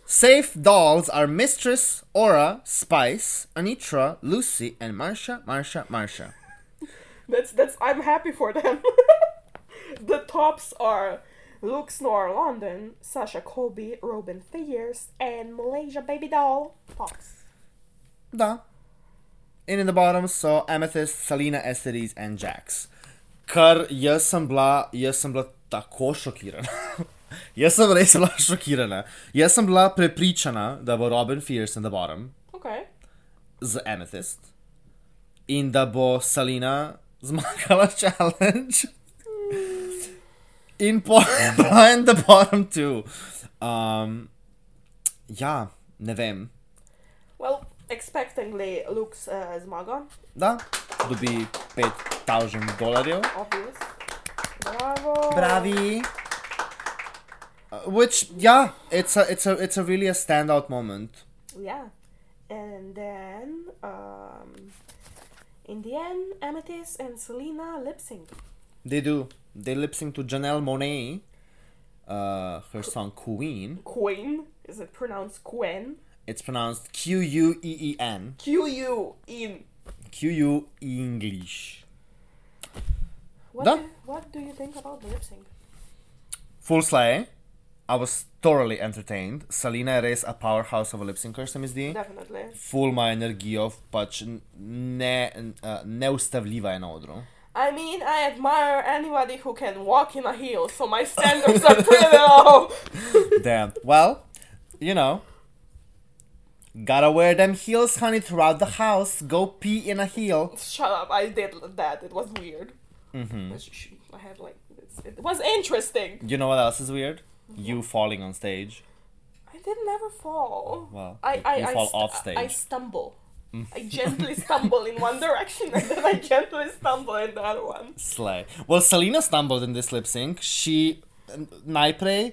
Speaker 1: Safe dolls are Mistress, Aura, Spice, Anitra, Lucy, and Marsha, Marsha, Marsha.
Speaker 2: That's that's. I'm happy for them. [LAUGHS] the tops are Luke Snore London, Sasha Colby, Robin Figures, and Malaysia Baby Doll. Tops.
Speaker 1: Da. In in the bottom so Amethyst, Salina, Esteris, and Jax. Kar jaz sem bila, jaz sem bila tako šokirana. [LAUGHS] jaz sem res bila šokirana. Jaz sem bila prepričana, da bo Robin Fierce in the bottom
Speaker 2: Okay.
Speaker 1: z Amethyst in da bo Salina zmagala [LAUGHS] challenge. In po- [LAUGHS] behind the bottom two. Um, ja, ne vem.
Speaker 2: Well, expectingly, Luke's uh, zmaga.
Speaker 1: Da, dobi 5000 dolarjev.
Speaker 2: Obvious. Bravo.
Speaker 1: Pravi. Uh, Which, yeah, it's a, it's a, it's a really a standout moment.
Speaker 2: Yeah. And then, um, in the end, Amethyst and Selena lip sync.
Speaker 1: They do. They lip sync to Janelle Monet, uh, her song Queen.
Speaker 2: Queen. Is it pronounced Quen?
Speaker 1: It's pronounced Q U E E N.
Speaker 2: Q U in.
Speaker 1: Q U English.
Speaker 2: What
Speaker 1: Da.
Speaker 2: do, what do you think about the lip sync?
Speaker 1: Full slay. I was thoroughly entertained. Salina je res a powerhouse of a lip syncer, se mi zdi.
Speaker 2: Definitely.
Speaker 1: Full ima energijo, pač n- ne, n- uh, neustavljiva je na odru.
Speaker 2: I mean, I admire anybody who can walk in a heel, so my standards
Speaker 1: [LAUGHS]
Speaker 2: are pretty low.
Speaker 1: Damn. Well, you know. Gotta wear them heels, honey, throughout the house. Go pee in a heel.
Speaker 2: Shut up! I did that. It was weird. Mm-hmm. I had like it's, it was interesting.
Speaker 1: You know what else is weird? You falling on stage.
Speaker 2: I did never fall.
Speaker 1: Well,
Speaker 2: I
Speaker 1: you-
Speaker 2: I,
Speaker 1: you
Speaker 2: I
Speaker 1: fall
Speaker 2: stu-
Speaker 1: off stage. Mm.
Speaker 2: I stumble. I gently stumble in
Speaker 1: [LAUGHS]
Speaker 2: one direction and then I gently stumble in the other one.
Speaker 1: Slay. Well, Selena stumbled in this lip sync. She n- najprej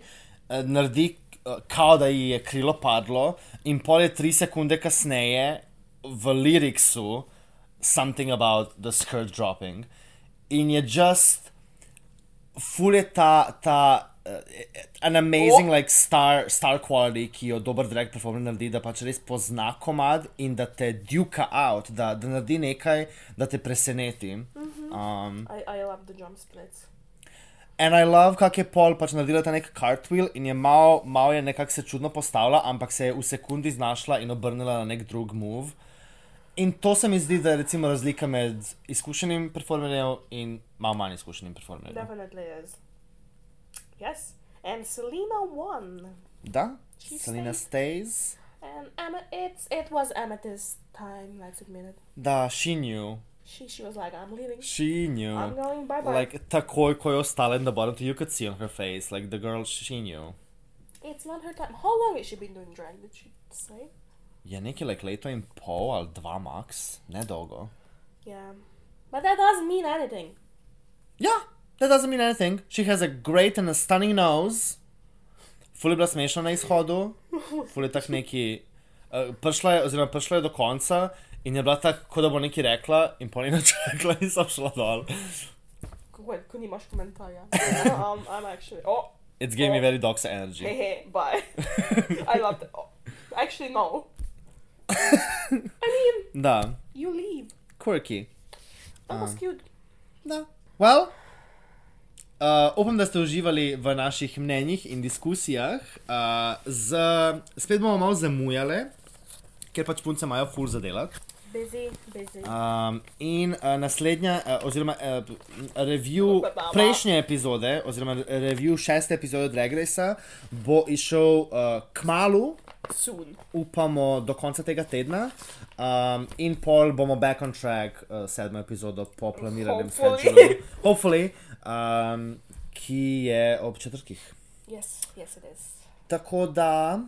Speaker 1: eh, naredi, eh, kao da ji je krilo padlo, in pol je tri sekunde kasneje v liriksu something about the skirt dropping. In je just ful je ta, ta eh, eh, an amazing
Speaker 2: Oh.
Speaker 1: like star, star quality, ki jo dober drag performer naredi, da pač res pozna komad in da te duka out, da, da naredi nekaj, da te preseneti. Um,
Speaker 2: I, I love the jump splits.
Speaker 1: And I love, kako je Paul pač naredila ta nek cartwheel in je malo, malo je nekako se čudno postavila, ampak se je v sekundi znašla in obrnila na nek drug move. In to se mi zdi, da je recimo razlika med izkušenim performerjem in malo manj izkušenim performerjem.
Speaker 2: Definitely is. Yes, and Selena won,
Speaker 1: Da,
Speaker 2: She
Speaker 1: Selena stays.
Speaker 2: and Am- it's it was Amethyst time. Let's admit it.
Speaker 1: Da, she knew.
Speaker 2: She she was like, I'm leaving.
Speaker 1: She knew.
Speaker 2: I'm going bye bye.
Speaker 1: Like такой кој остал in the bottom, you could see on her face. Like the girl, she knew.
Speaker 2: it's not her time. How long has she been doing drag? Did she say?
Speaker 1: Je nekaj like, leto in pol ali dva max, nedolgo.
Speaker 2: Yeah, but that doesn't mean anything.
Speaker 1: Yeah, that doesn't mean anything. She has a great and a stunning nose. Ful je bila smešna na izhodu, ful je tak neki. Uh, prišla je, oziroma prišla je do konca in je bila tako, kot da bo nekaj rekla, in po njej načekla in so šla dol.
Speaker 2: Wait, couldn't much comment um, I'm actually. Oh,
Speaker 1: It's gave me very doxa energy.
Speaker 2: hey, hey, bye. I loved it. Oh, actually, no. I mean,
Speaker 1: [LAUGHS] da,
Speaker 2: you leave.
Speaker 1: quirky.
Speaker 2: That was cute.
Speaker 1: Da. Well, uh, upam, da ste uživali v naših mnenjih in diskusijah. Uh, z, spet bomo malo zamujali, ker pač punce imajo fur za delati.
Speaker 2: Busy, busy.
Speaker 1: Um, in uh, naslednja, uh, oziroma uh, review
Speaker 2: Ba, ba, ba.
Speaker 1: prejšnje epizode, oziroma review šeste epizode Drag Race, bo išel uh, k malu,
Speaker 2: Soon.
Speaker 1: upamo do konca tega tedna. Um, in pol bomo back on track, uh, sedmo epizodo po planiranem
Speaker 2: Hopefully.
Speaker 1: schedulu. Hopefully, um, ki je ob četrtih.
Speaker 2: Yes, yes, it is.
Speaker 1: Tako da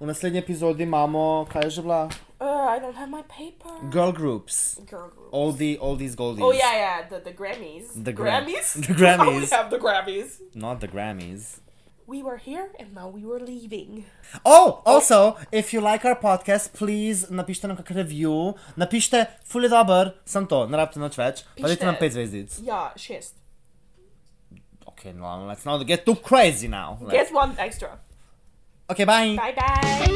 Speaker 1: v naslednji epizodi imamo, kaj je že bila?
Speaker 2: Uh, I don't have my paper.
Speaker 1: Girl groups.
Speaker 2: Girl group.
Speaker 1: All, the, all these goldies.
Speaker 2: Oh yeah, yeah, the, the Grammys.
Speaker 1: The Gra-
Speaker 2: Grammys.
Speaker 1: [LAUGHS] the
Speaker 2: [LAUGHS]
Speaker 1: Grammys.
Speaker 2: we have the Grammys.
Speaker 1: Not the Grammys.
Speaker 2: We were here and now we were leaving.
Speaker 1: Oh, also, if you like our podcast, please napišite nam kak review, napišite, ful je dober, sem to, ne rabite nič več, pa dajte nam
Speaker 2: Pišite.
Speaker 1: pet zvezdic.
Speaker 2: Yeah, shit.
Speaker 1: Okay, no, let's not get too crazy now. Like,
Speaker 2: Guess one extra.
Speaker 1: Okay, bye.
Speaker 2: Bye bye.